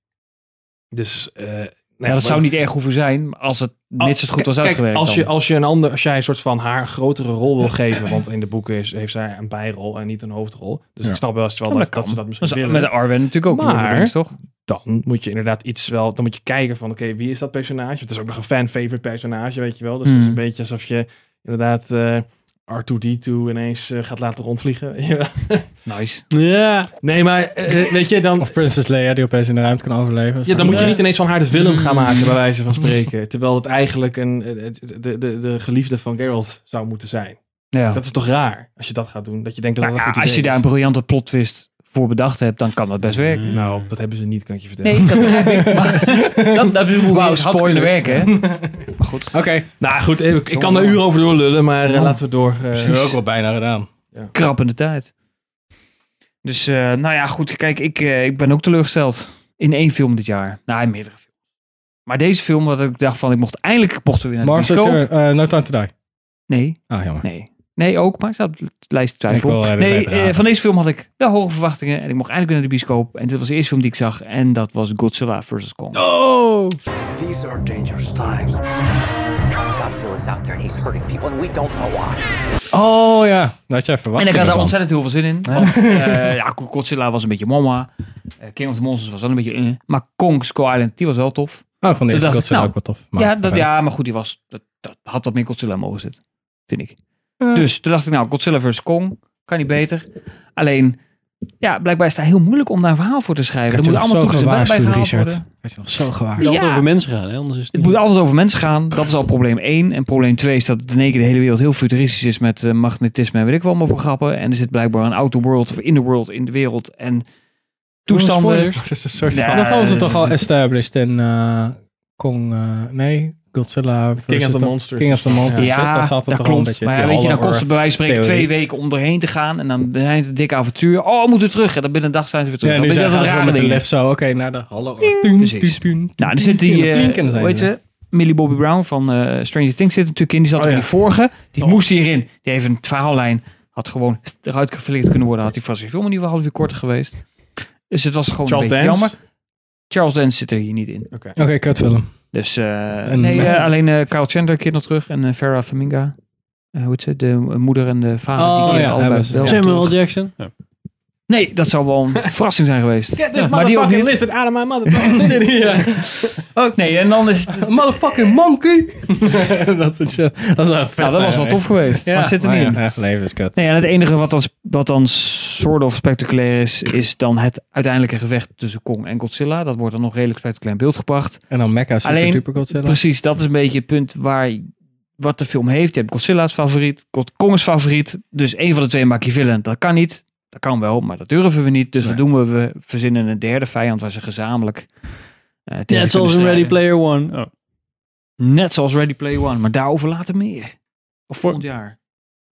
A: Dus, eh, nou
I: Ja, dat zou niet erg hoeven zijn als het mits het goed was
A: Kijk,
I: uitgewerkt.
A: Als je,
I: dan.
A: als je een ander, als jij een soort van haar grotere rol wil geven, want in de boeken is, heeft zij een bijrol en niet een hoofdrol. Dus
I: Ja.
A: ik snap wel eens wel
I: Ja,
A: dat,
I: dat
A: dat,
I: kan.
A: ze dat misschien
I: Dat is
A: willen.
I: met de Arwen natuurlijk ook
A: Maar
I: Lord of the Rings,
A: dan moet je inderdaad iets wel, dan moet je kijken van, oké, wie is dat personage? Het is ook nog een fan-favorite personage, weet je wel. Dus het is
I: Hmm.
A: een beetje alsof je inderdaad eh, R2-D2 ineens eh, gaat laten rondvliegen. weet je wel.
I: Nice.
A: Ja, nee, maar eh, weet je, dan...
B: Of Princess Leia die opeens in de ruimte kan overleven.
A: Ja, dan moet je niet ineens van haar de film gaan
I: Mm.
A: maken, bij
B: wij.
A: wijze van spreken. Terwijl het eigenlijk een, eh, het- de, de, de geliefde van Geralt zou moeten zijn.
I: Ja.
A: Dat is toch raar, als je dat gaat doen? Dat je denkt dat
I: Nou
A: dat
I: ja,
A: een goed
I: als je
A: idee
I: daar een
A: is.
I: briljante plot twist voor bedacht hebt, dan kan dat best werken.
D: Mm.
A: Nou, dat hebben ze niet, kan ik je vertellen.
I: Nee, dat begrijp ik. Maar dat, dat is hoe
A: Wauw,
I: het had kunnen
A: spoilers.
I: werken. hè. Maar goed.
B: Oké.
A: Nou goed, ik, ik kan er uren over door lullen, maar eh, laten we door. eh,
B: Precies. ook al bijna gedaan.
I: Krappende tijd. Dus, eh, nou ja, goed. Kijk, ik, eh, ik ben ook teleurgesteld in één film dit jaar. Nou, in meerdere films. Maar deze film, dat ik dacht van, ik mocht eindelijk mochten we weer naar de
B: Mars
I: bioscoop.
B: Return, eh, No Time To Die.
I: Nee.
B: Ah, jammer.
I: Nee. Nee, ook, maar ik staat op de lijst
B: Ik wil,
I: twijfel.
B: eh, de
I: Nee,
B: tijd raden.
I: eh, van deze film had ik wel hoge verwachtingen. En ik mocht eindelijk weer naar de bioscoop. En dit was de eerste film die ik zag. En dat was Godzilla vs. Kong.
A: Oh!
N: These are dangerous times.
M: Godzilla's out there and he's hurting people and we don't know why.
B: Oh ja, dat had jij verwacht.
I: En ik had daar
B: ervan.
I: ontzettend heel veel zin in. Want, eh, ja, Godzilla was een beetje mama. Eh, King of the Monsters was wel een beetje... eh. Maar Kong Skull Island, die was wel tof.
B: Oh, van de eerste
I: Toen dacht ik,
B: Godzilla
I: nou,
B: ook wel tof. Maar
I: ja, dat,
B: verder.
I: ja, maar goed, die was, dat, dat had wat meer Godzilla mogen zitten. Vind ik. Dus toen dacht ik, nou, Godzilla vs. Kong. Kan niet beter. Alleen, ja, blijkbaar is het heel moeilijk om daar een verhaal voor te schrijven.
B: Ik
I: Er
B: had je nog
I: moet allemaal
B: zo
I: toegezegd bij
B: gewaarschuwd,
I: gehaald
B: Richard.
I: worden.
B: Had je nog zo
D: Het moet
B: gewaarschuwd.
D: altijd over mensen gaan, hè? anders is het
I: Het moet altijd over mensen gaan. Dat is al probleem één. En probleem twee is dat in één keer de hele wereld heel futuristisch is met eh, magnetisme en weet ik wel allemaal voor grappen. En er zit blijkbaar een outer world of in the world in de wereld en toestanden.
B: spoilers.
A: Dat is een soort
I: Ja,
B: Ja, dat hadden ze
I: eh,
B: toch al established in eh, Kong... eh, nee, Godzilla... versus
A: of the
B: dat-
A: Monsters.
B: King of the Monsters.
I: Ja,
B: Dus, eh, daar zat het
I: dat
B: toch al een
I: klopt.
B: beetje...
I: maar ja,
B: die
I: weet je, dan
B: all-over
I: kost het bij wijze van spreken
B: theorie.
I: twee weken om erheen te gaan. En dan zijn het een dikke avontuur. Oh, we moeten terug. En dan binnen een dag zijn ze weer terug.
B: Ja,
I: Dan
B: nu
I: ben je
B: zijn
I: altijd
B: ze gewoon
I: rare
B: met de
I: dingen.
B: lef zo. Oké, naar de hallo.
I: Precies. Nou, er zit die, eh, hoe heet ze? Millie Bobby Brown van eh, Stranger Things zit er natuurlijk in. Die zat
B: Oh
I: er in die vorige. Die moest hierin. Die heeft een verhaallijn. Had gewoon eruit geflikt kunnen worden. Had die vast zijn film in ieder geval half uur korter geweest. Dus het was gewoon
A: Charles
I: een beetje
A: Dance?
I: jammer. Charles Dance zit er hier niet in.
A: Oké.
B: Oké, kutfilm.
I: Dus eh,
B: En-
I: nee, eh, alleen eh Kyle Chandler keert nog terug. En eh, Farah Faminga. Eh, hoe heet ze? De moeder en de vader.
D: Oh,
I: die keren
D: ja,
I: allebei
B: hebben ze.
I: wel
D: Samuel
I: terug.
D: L. Jackson. Ja.
I: Nee, dat zou wel een verrassing zijn geweest.
A: Get this
I: Ja, maar die ook
A: motherfucking
I: niet.
A: lizard out of my motherfucking city.
I: Ook nee, en dan is
B: Motherfucking monkey! dat, is, dat is wel vet.
I: Nou, dat was wel tof geweest. Maar het zit er
D: Oh,
I: niet in.
B: Ja, echt leven is kut.
I: Nee, en het enige wat dan, wat dan soort of spectaculair is, is dan het uiteindelijke gevecht tussen Kong en Godzilla. Dat wordt dan nog redelijk spectaculair in beeld gebracht.
B: En dan Mecca Super
I: Alleen,
B: Duper Godzilla.
I: Precies, dat is een beetje het punt waar wat de film heeft. Je hebt Godzilla's favoriet, God- Kong is favoriet. Dus één van de twee maakt je villain. Dat kan niet. Dat kan wel, maar dat durven we niet. Dus wat doen we? We verzinnen een derde vijand waar ze gezamenlijk eh, tegen kunnen
D: Net zoals in
I: strijden.
D: Ready Player One. Oh.
I: Net zoals Ready Player One, maar daarover later meer. Of volgend jaar.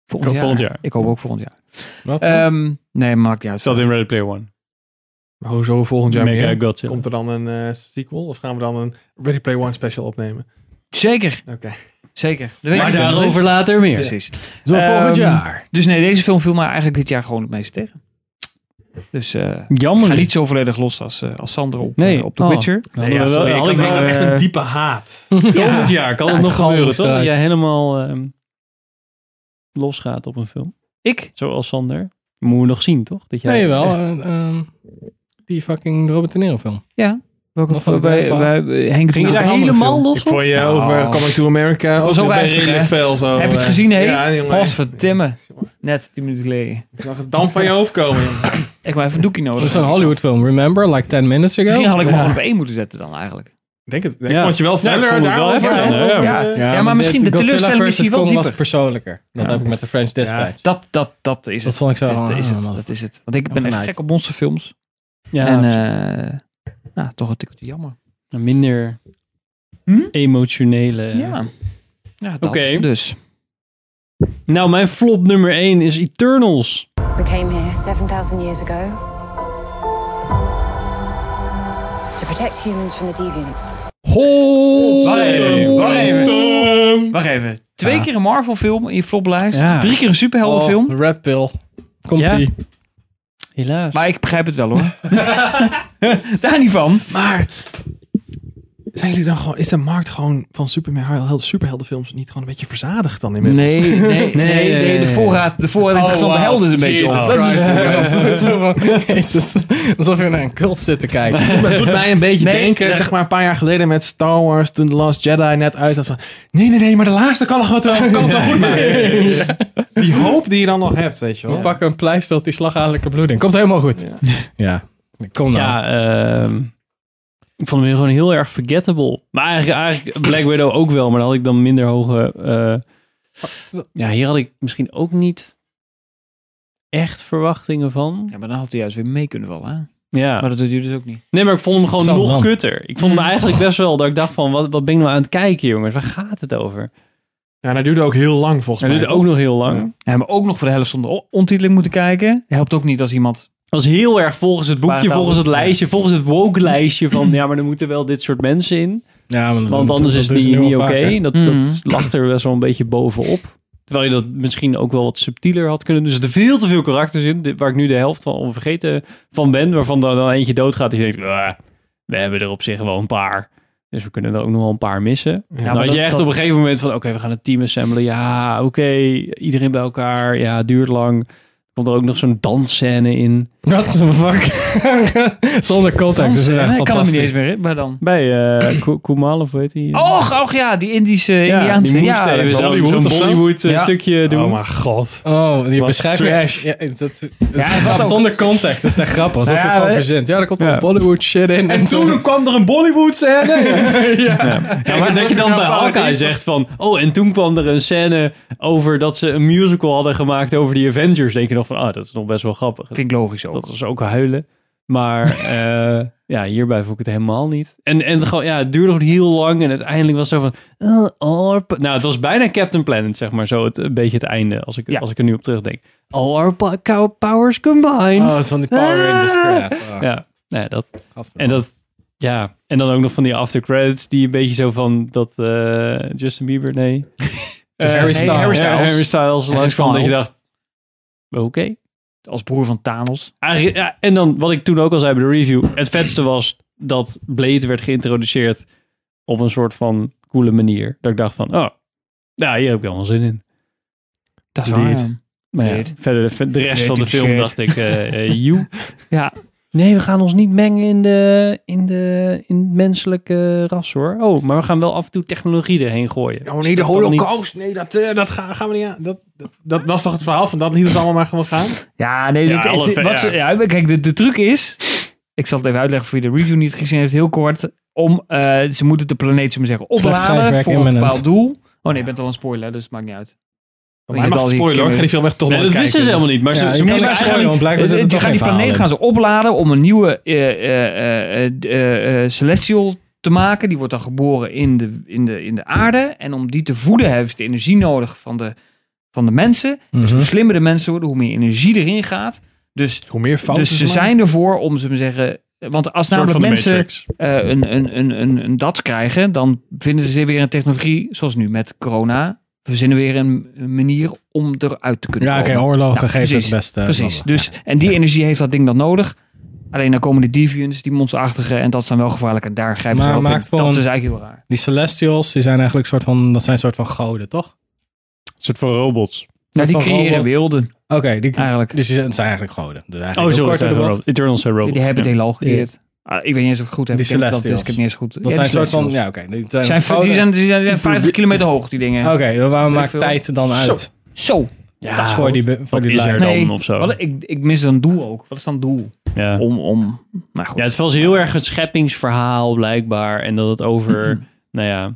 K: Volgend jaar.
I: Ik hoop ook volgend jaar.
B: Wat?
I: Ehm, nee, maakt niet uit.
K: Zat in Ready Player One.
A: Maar hoezo volgend jaar
K: Mega
A: meer?
K: Godzilla.
A: Komt er dan een eh, sequel? Of gaan we dan een Ready Play One special opnemen?
I: Zeker.
A: Oké.
I: Zeker. Dat weet
D: Maar
I: ik nog niet.
D: daarover later meer.
I: Precies.
B: Zo volgend
I: Ehm,
B: jaar.
I: Dus nee, deze film viel mij eigenlijk dit jaar gewoon het meeste tegen. Dus eh ik
D: Jammer.
I: ga
D: niet.
I: niet zo volledig los als, eh, als Sander op,
D: Nee.
I: eh, op The
D: Oh.
I: Witcher.
A: Nou,
D: Nee, ja, sorry, ik had wel, eh,
A: diepe haat.
D: Komend jaar kan
B: Ja,
D: het
B: het
D: nog
B: gal
D: gebeuren,
B: moest
D: toch? Dat
B: eruit.
D: jij helemaal ehm, losgaat op een film.
I: Ik?
D: Zoals Sander. Moeten we nog zien, toch? Dat jij
B: Nee, wel.
D: echt-
B: eh, ehm, die fucking Robert De Niro film.
I: Ja.
B: Nog van
I: Welke,
B: de
I: bij,
B: Bergpaal.
I: bij, bij Henk
D: Ging je
I: van
D: daar
I: Dam-
D: helemaal
I: film.
D: los
A: Nou, Ik
D: op? Oh.
A: vond je
I: Nou.
A: over Coming to America
I: Dat was ook
A: weer
I: ernstig,
A: redelijk
I: hè?
A: fel zo.
I: Heb je het
A: eh,
I: gezien, hé?
A: Ja, jongen.
I: Godverdomme. Net tien minuten geleden.
A: Ik zag het damp van je hoofd komen.
I: Ik maar even een doekje nodig.
B: Dat is een Hollywood film, remember? Like 10 minutes ago?
I: Misschien had ik hem
A: Ja.
I: gewoon op één moeten zetten dan eigenlijk.
A: Ik Denk het. Ik
D: Ja.
A: vond je wel
D: ik
A: verder
D: vond het wel
A: daarover.
D: even
A: dan
D: verder,
A: over,
I: ja.
A: eh,
I: Ja, maar
B: dit-
I: misschien de
B: Godzilla
I: teleurstelling is
B: versus
I: hier wel
B: Kong was
I: dieper.
B: persoonlijker. Dat
I: Ja.
B: heb ik met de French Dispatch.
I: Dat, dat, dat
B: Dat
I: is het.
B: vond ik zo
I: Dat, dat is het.
B: allemaal.
I: Dat is het. Want ik ben
B: Vanuit.
I: echt gek op monsterfilms.
D: Ja,
I: en
D: precies.
I: eh, nou, toch een tikkeltje jammer.
D: Een minder
I: Hm?
D: emotionele... eh.
I: Ja. Ja, dat.
D: Oké.
I: Dus.
D: Nou, mijn flop nummer 1 is Eternals.
G: We came here 7,000 years ago to protect humans from the deviants.
A: Oh,
I: Wacht even, wacht even. Wacht even. Twee
B: Ja.
I: keer een Marvel film in je floplijst.
B: Ja.
I: Drie keer een superheldenfilm.
B: Oh, Red Pill. Komt
I: Ja.
B: die.
D: Helaas.
I: Maar ik begrijp het wel hoor. Daar niet van.
A: Maar zijn jullie dan gewoon, is de markt gewoon van superhel- superheldenfilms niet gewoon een beetje verzadigd dan inmiddels?
I: Nee, nee, nee, nee, Oh, de voorraad, de voorraad interessante helden is een
A: Mm.
I: beetje op.
A: Oh.
I: Dat is-
B: Jezus. Alsof je naar een cult zit te kijken.
A: Het doet mij- het doet mij een beetje
B: Nee,
A: denken,
B: nee.
A: eh, zeg maar een paar jaar geleden met Star Wars, toen The Last Jedi net uit was van, nee, nee, nee, maar de laatste kan, nog wat, wel- kan het wel goed maken. Die hoop die je dan nog hebt, weet je
B: We
A: wel.
B: pakken een pleister op die slagadelijke bloeding. Komt helemaal goed. Ja. Kom nou.
D: Ja, ehm, ik vond hem gewoon heel erg forgettable. Maar eigenlijk, eigenlijk Black Widow ook wel, maar dan had ik dan minder hoge... eh, ja, hier had ik misschien ook niet echt verwachtingen van.
I: Ja, maar dan had hij juist weer mee kunnen vallen. Hè?
D: Ja.
I: Maar dat doet hij dus ook niet.
D: Nee, maar ik vond hem gewoon
I: Zelfs
D: nog
I: dan.
D: kutter. Ik vond hem eigenlijk best wel dat ik dacht van, wat, wat ben ik nou aan het kijken, jongens? Waar gaat het over?
A: Ja, en dat duurde ook heel lang volgens
D: Dat
A: mij.
D: duurde ook nog heel lang.
I: Ja, maar ook nog voor de helft zonder o- ondertiteling moeten kijken. Helpt ook niet als iemand...
D: was heel erg volgens het boekje,
I: Paragraaf.
D: volgens het lijstje, volgens het woke-lijstje van ja, maar er moeten wel dit soort mensen in.
B: Ja, maar dat-
D: Want
B: dat-
D: anders
B: dat
D: is
B: doen
D: het
B: ze
D: niet,
B: nu al
D: niet oké.
B: vaker.
D: Dat,
B: Mhm.
D: dat lag er best wel een beetje bovenop. Terwijl je dat misschien ook wel wat subtieler had kunnen. Dus er veel te veel karakters in, dit- waar ik nu de helft van vergeten van ben. Waarvan er dan eentje doodgaat. En je denkt, "Ah, we hebben er op zich wel een paar. Dus we kunnen er ook nog wel een paar missen.
A: Ja,
D: dan
A: maar
D: had je
A: dat-
D: echt
A: dat-
D: op een gegeven moment van... Oké, we gaan het team assemblen. Ja, oké. iedereen bij elkaar. Ja, het duurt lang. Komt er ook nog zo'n dansscène in.
B: Wat the fuck? Zonder contact. Dus
I: Ja,
B: echt
I: ik eh, kan hem niet eens
B: fantastisch.
I: meer, in, maar dan...
D: Bij eh, Ku- Kumal of hoe heet die?
I: Och, och ja, die Indische,
D: Ja,
I: Indiaanse.
D: die moest
I: Ja,
D: even zo'n
I: Bollywood
D: zo'n
I: of zo.
D: Bollywood, eh,
I: Ja.
D: stukje doen.
A: Oh mijn god.
B: Oh, die
A: Wat
B: beschrijft
A: trash.
B: Ja, dat, dat
A: hij
B: is een
A: gaat
B: grap
A: ook-
B: zonder context. dus Dat is echt grappig. Alsof
A: Nou
B: je
A: ja,
B: gewoon
A: we-
B: verzint. Ja, er komt een Bollywood shit in. En toen
A: kwam er een Bollywood scène.
D: Ja, maar dat je dan bij Hawkeye zegt van... Oh, en toen kwam er een scène over dat ze een musical hadden gemaakt over die Avengers. Denk je nog van, ah, dat is nog best wel grappig.
I: Klinkt logisch ook.
D: Dat was ook huilen. Maar eh, ja, hierbij vond ik het helemaal niet. En, en gewoon, ja, het duurde nog heel lang en uiteindelijk was het zo van... eh, Orp. Nou, het was bijna Captain Planet, zeg maar. Zo het, een beetje het einde, als ik, als ik er nu op terugdenk. All our po- cow- powers combined.
B: Oh, dat is van die Power Rangers crap. Ah.
D: Ja, nou ja, dat. En dat, ja. En dan ook nog van die after credits, die een beetje zo van dat eh, Justin Bieber, nee. Eh,
I: Harry
D: nee,
I: Styles.
D: Harry Styles,
I: Harry
D: Styles
I: Styles.
D: langskwam dat je dacht, oké.
I: Als broer van Thanos.
D: Eigenlijk- ja, en dan, wat ik toen ook al zei bij de review, het vetste was dat Blade werd geïntroduceerd op een soort van coole manier. Dat ik dacht van, oh, nou, hier heb ik allemaal zin in.
I: Dat
D: Indeed.
I: waar, ja.
D: Maar ja,
I: Blade.
D: verder de, de rest van de
I: Blade
D: film
I: Blade.
D: dacht ik, eh eh, you.
I: Ja.
D: Nee, we gaan ons niet mengen in de, in de in het menselijke ras hoor. Oh, maar we gaan wel af en toe technologie erheen gooien.
A: Oh nee, de holocaust. Nee, dat, eh, dat gaan, gaan we niet aan. Dat, dat, dat was toch het verhaal van dat liet het allemaal maar gewoon gaan?
I: Ja, nee,
A: Ja,
I: dit-
A: alle
I: het-
A: ver-
I: wat ze- ja. kijk, de, de truc is... Ik zal het even uitleggen voor je de review niet gezien heeft, heel kort. Om, eh, ze moeten de planeet, zullen we zeggen, opladen
B: schrijfwerk,
I: voor een
B: imminent.
I: bepaald doel. Oh nee, je bent al een spoiler, dus het maakt niet uit.
A: Maar hij mag spoiler, hoor. Ga die film echt toch
D: Nee,
A: nooit
D: dat wisten ze
A: kijken.
D: helemaal niet. Maar ze,
A: Ja,
D: ze
A: je kan
D: moesten
A: het
D: eigenlijk-
A: spoilen, want blijkbaar zit er
I: Eh, die
A: toch
I: gaan
A: geen
I: die planeet
A: verhaal
I: gaan ze opladen om een nieuwe eh, eh, eh, eh, eh, celestial te maken. Die wordt dan geboren in de, in, de, in de aarde. En om die te voeden heeft de energie nodig van de, van de mensen. Dus
B: Mhm.
I: hoe slimmer de mensen worden, hoe meer energie erin gaat. Dus,
A: hoe meer fouten
I: dus
A: ze
I: ze
A: maken.
I: zijn ervoor om ze maar zeggen. Want als
A: Een soort
I: namelijk
A: van de
I: mensen
A: Matrix.
I: eh, een, een, een, een, een dat krijgen, dan vinden ze weer een technologie, zoals nu met corona. We verzinnen weer een, een manier om eruit te kunnen
B: Ja, oké,
I: komen.
B: oorlogen
I: Nou,
B: geven
I: precies,
B: het beste.
I: Precies. Dus, en die energie heeft dat ding dan nodig. Alleen dan komen de deviants, die monsterachtigen, en dat is dan wel gevaarlijk. En daar grijpen
B: Maar
I: ze op
B: maakt
I: in.
B: wel
I: Dat
B: een-
I: is eigenlijk heel raar.
B: Die Celestials, die zijn eigenlijk soort van, dat zijn soort van goden, toch?
D: Een soort van robots.
I: Nou, die
B: Van
I: creëren
B: robot.
I: werelden.
B: Oké, die,
I: eigenlijk.
B: dus die zijn, het zijn eigenlijk goden. Dus
D: Oh,
B: eigenlijk heel
D: zo.
B: kort door de bocht.
D: Eternals zijn robots.
I: Die hebben
D: Ja.
I: het heelal gecreëerd. Ah, ik weet niet eens of het goed heb.
B: Die
I: ik heb dat-
B: Celestials.
I: dus ik heb niet eens goed.
B: Dat
I: Ja,
B: zijn
I: die
B: een soort van, ja
I: Celestials.
B: oké. die zijn
I: Zijn-
B: goden.
I: die zijn, die zijn, die zijn 50 kilometer hoog, die dingen.
B: Oké, dan waarom
I: Weet
B: maakt
I: veel.
B: tijd dan uit?
I: Zo. Zo.
B: Ja, dat is voor die, be- voor die lijn.
I: Nee,
D: Oh.
I: Wat, ik, ik mis een doel ook. Wat is dan doel? dus-
D: Ja.
I: Om, om. Maar goed.
D: Ja, het was heel erg een scheppingsverhaal blijkbaar. En dat het over, nou ja,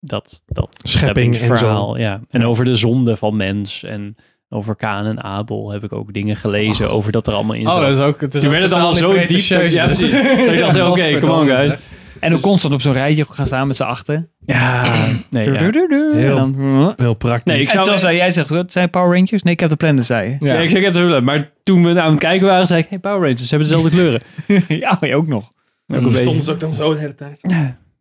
D: dat, dat
A: Schepping en
D: scheppingsverhaal.
A: zo.
D: ja. en over de zonde van mens en over Kaan en Abel heb ik ook dingen gelezen over dat er allemaal in
B: Oh,
D: zat.
B: dat is ook- het is
D: Toen
B: ook
D: werd het allemaal
B: totaal
D: zo
B: niet
D: diep.
B: pretentieus,
D: Ja,
B: dus.
D: precies. Dat ik dacht, oké, come
B: Ja,
D: on
B: godverdomme,
D: guys.
B: zeg. Dus
I: En dan constant op zo'n rijtje gaan staan met z'n achten.
D: Ja, nee, ja.
I: Heel,
A: Heel-
I: dan,
A: Heel praktisch.
D: Nee,
I: ik
D: ik zou-
I: zoals jij zegt, het zijn Power Rangers? Nee, ik heb de Planet, zei je.
D: Ja. ik zeg, ik heb het hulp. Maar toen we nou aan het kijken waren, zei ik, hey, Power Rangers, ze hebben dezelfde kleuren.
I: ja, jij ook nog.
D: Ook een beetje.
A: ze ook dan zo de hele tijd.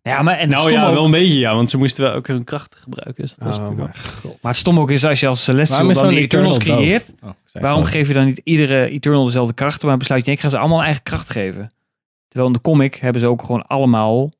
I: Ja, maar en
D: nou
I: stom
D: ja,
I: ook-
D: wel een beetje ja, want ze moesten wel ook hun krachten gebruiken. Dus dat was
I: Oh,
D: natuurlijk wel-
I: Maar het stom ook is als je als
D: Waarom
I: Celestial
D: is
I: dan
D: dan
I: die
D: Eternal
I: Eternals
D: dood?
I: creëert,
D: Oh, zij
I: waarom
D: dood.
I: geef je dan niet iedere Eternal dezelfde krachten, maar besluit je, nee, ik ga ze allemaal een eigen kracht geven. Terwijl in de comic hebben ze ook gewoon allemaal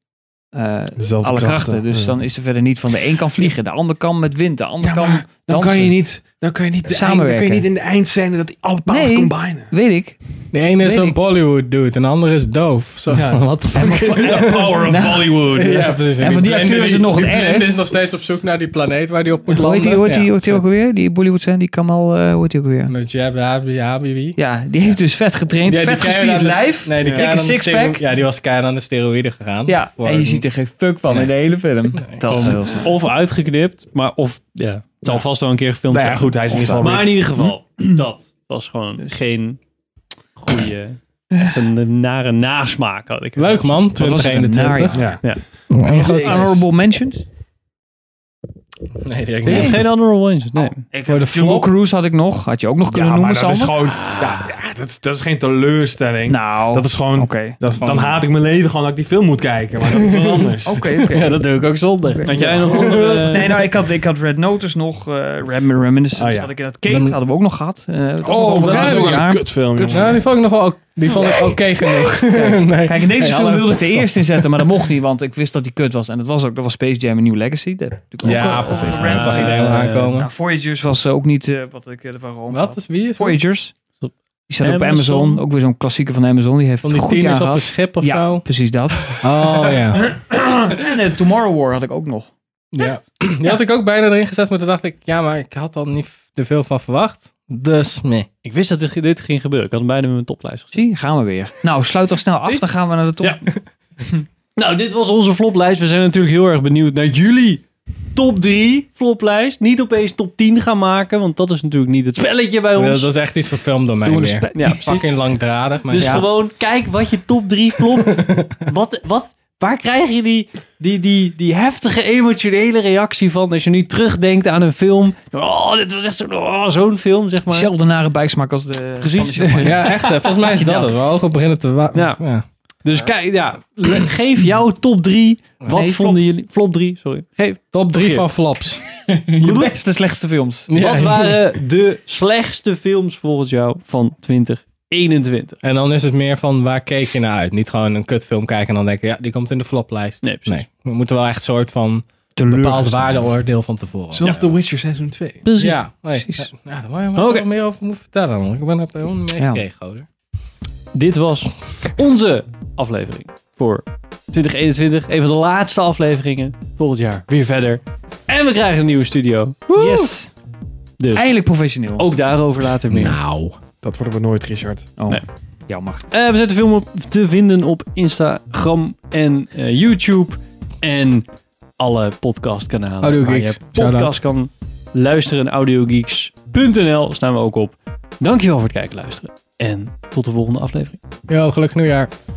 I: eh, alle
A: Dezelfde
I: krachten.
A: krachten,
I: Dus
A: ja.
I: dan is er verder niet van de een kan vliegen, de ander kan met wind, de ander kan
A: Dan
I: dansen.
A: kan, je niet, dan, kan je niet de eind, dan
I: Samenwerken.
A: kun je niet in de eindscène dat die alle powers
I: Nee.
A: combinen.
I: Weet ik.
B: De ene is
A: Weet
B: een
A: ik.
B: Bollywood dude en de andere is doof. Zo,
A: Ja.
B: wat de
A: En
B: fuck?
A: van-
D: The power of
B: Nou,
D: Bollywood.
B: Ja, precies.
I: En van die
B: blender
I: acteur is het nog
B: die
I: het
B: blender
I: ergst.
B: is nog steeds op zoek naar die planeet waar die op moet
I: Hoe
B: landen.
I: heet die, hoe heet die,
B: Ja.
I: hoe heet die ook alweer? Die Bollywood zijn, die Kamal, eh hoe heet die ook alweer?
B: Najib Habi- Habibi.
I: Ja, die heeft dus vet getraind, vet
B: keihard
I: gespierd
B: aan de-
I: lijf,
B: Nee, die
I: dikke
B: keihard aan de
I: sixpack.
B: stero- Ja, die was keihard aan de steroïden gegaan.
I: Ja,
B: Voor-
I: en je ziet er geen fuck van in de hele film. Dat is heel snel.
D: Of uitgeknipt, maar of ja, het zal vast wel een keer gefilmd
A: Nou ja,
D: zijn.
A: goed, hij is in ieder geval
D: Maar in
A: rich.
D: ieder geval, dat was gewoon geen goede, echt een, nare nasmaak had ik.
B: Leuk man,
D: Wat was het, een
B: 2021.
D: nare- Ja.
B: En
D: Jezus.
I: Honorable mentions?
B: Nee, die heb ik
D: Nee,
B: niet.
D: geen honorable mentions, nee.
I: Voor de Jungle Cruise had ik nog, had je ook nog kunnen
A: Ja, maar
I: noemen,
A: dat is
I: Sander.
A: gewoon, ja, ja, dat, is- dat is geen teleurstelling.
I: Nou,
A: dat is gewoon,
I: oké.
A: dat, dan haat ik mijn leven gewoon dat ik die film moet kijken. Maar dat is wel anders.
I: Oké, oké.
B: Ja, dat doe ik ook zonder.
D: Had jij nog andere...
I: Nee, nou, ik had, ik had Red Notice nog, eh Rem Reminiscence
A: Oh, ja.
I: had ik in dat Kate, hadden we ook nog gehad. Eh, dat
A: Oh,
I: nog
A: dat
I: over-
A: is ook
I: ja.
A: een kutfilm. jongen.
B: Nou, die vond ik nog wel die vond ik oké genoeg. Nee.
I: Kijk, in deze
B: Hey,
I: film
B: hallo.
I: wilde ik de eerste inzetten, maar dat mocht niet, want ik wist dat die kut was. En dat was ook, dat was Space Jam en New Legacy. Dat, heb ik natuurlijk
B: Ja,
I: ook, eh,
B: precies.
I: over
B: Dat
I: Red.
B: zag iedereen wel
I: Eh,
B: aankomen.
I: nou, Voyagers was eh, ook niet eh, wat ik ervan room
B: Wat is wie?
I: Voyagers. Die staat ook op
B: Amazon.
I: Amazon. Ook weer zo'n klassieker van Amazon. Die heeft
B: Van
I: het
B: die
I: goed
B: tieners
I: jaar
B: op
I: gehad.
B: een schip of
I: ja,
B: zo?
I: precies dat.
B: Oh ja.
I: en eh, Tomorrow War had ik ook nog.
B: ja. Die had ik ook bijna erin gezet, maar toen dacht ik, ja, maar ik had al niet te veel van verwacht. Dus meh.
D: Ik wist dat dit, dit ging gebeuren. Ik had hem bijna in mijn toplijst gezien.
I: Zie, gaan we weer. Nou, sluit toch snel af, dan gaan we naar de top.
D: Nou, dit was onze floplijst. We zijn natuurlijk heel erg benieuwd naar jullie top 3 floplijst. Niet opeens top 10 gaan maken, want dat is natuurlijk niet het spelletje bij ons.
B: Dat was echt iets voor filmdomein
D: Doen we
B: meer.
D: spe- ja, precies.
B: Fucking langdradig. Maar
D: dus
B: ja.
D: gewoon kijk wat je top 3 flop. wat, wat, waar krijg je die, die, die, die heftige emotionele reactie van als je nu terugdenkt aan een film? Oh, dit was echt zo'n oh, zo'n film, zeg maar.
I: Zelfde nare bijsmaak als de...
D: Precies.
I: van de Shyamalan.
B: Ja, echt. hè. Volgens mij is
D: Ja,
B: dat
D: dat.
B: het. Mijn ogen beginnen te... wa-
D: Ja.
B: Ja.
D: Dus kijk, ja, le- geef jouw top 3. Wat
B: Nee,
D: vonden jullie? Flop 3, sorry. Geef
B: Top 3
D: Begin.
B: van flops.
I: Je beste, slechtste films.
B: Ja.
D: Wat waren de slechtste films volgens jou van 2021?
B: En dan is het meer van waar keek je naar uit? Niet gewoon een kutfilm kijken en dan denken, ja, die komt in de floplijst.
D: Nee, precies.
B: Nee, we moeten wel echt soort van bepaald
I: Teleurgesteld.
B: waardeoordeel van tevoren.
A: Zoals The Witcher Season 2.
D: Precies.
B: Ja, nee.
I: Precies.
B: Ja, daar moet je wel
D: Oké.
B: wat meer over moeten vertellen. want Ik ben er helemaal niet mee
I: Ja.
B: gekregen, gozer.
D: Dit was onze aflevering voor 2021. Een van de laatste afleveringen. Volgend jaar weer verder. En we krijgen een nieuwe studio.
I: Yes.
D: Dus
I: Eindelijk professioneel.
D: ook daarover later meer.
B: Nou.
A: Dat worden we nooit, Richard.
I: Oh,
D: Nee.
I: Jammer.
D: Eh, we zijn te, film op, te vinden op Instagram en eh, YouTube. En alle podcastkanalen.
B: Audio
D: waar
B: Geeks,
D: je podcast
B: shout-out.
D: kan luisteren. Audiogeeks.nl staan we ook op. Dankjewel voor het kijken luisteren. En tot de volgende aflevering.
B: Yo, gelukkig nieuwjaar.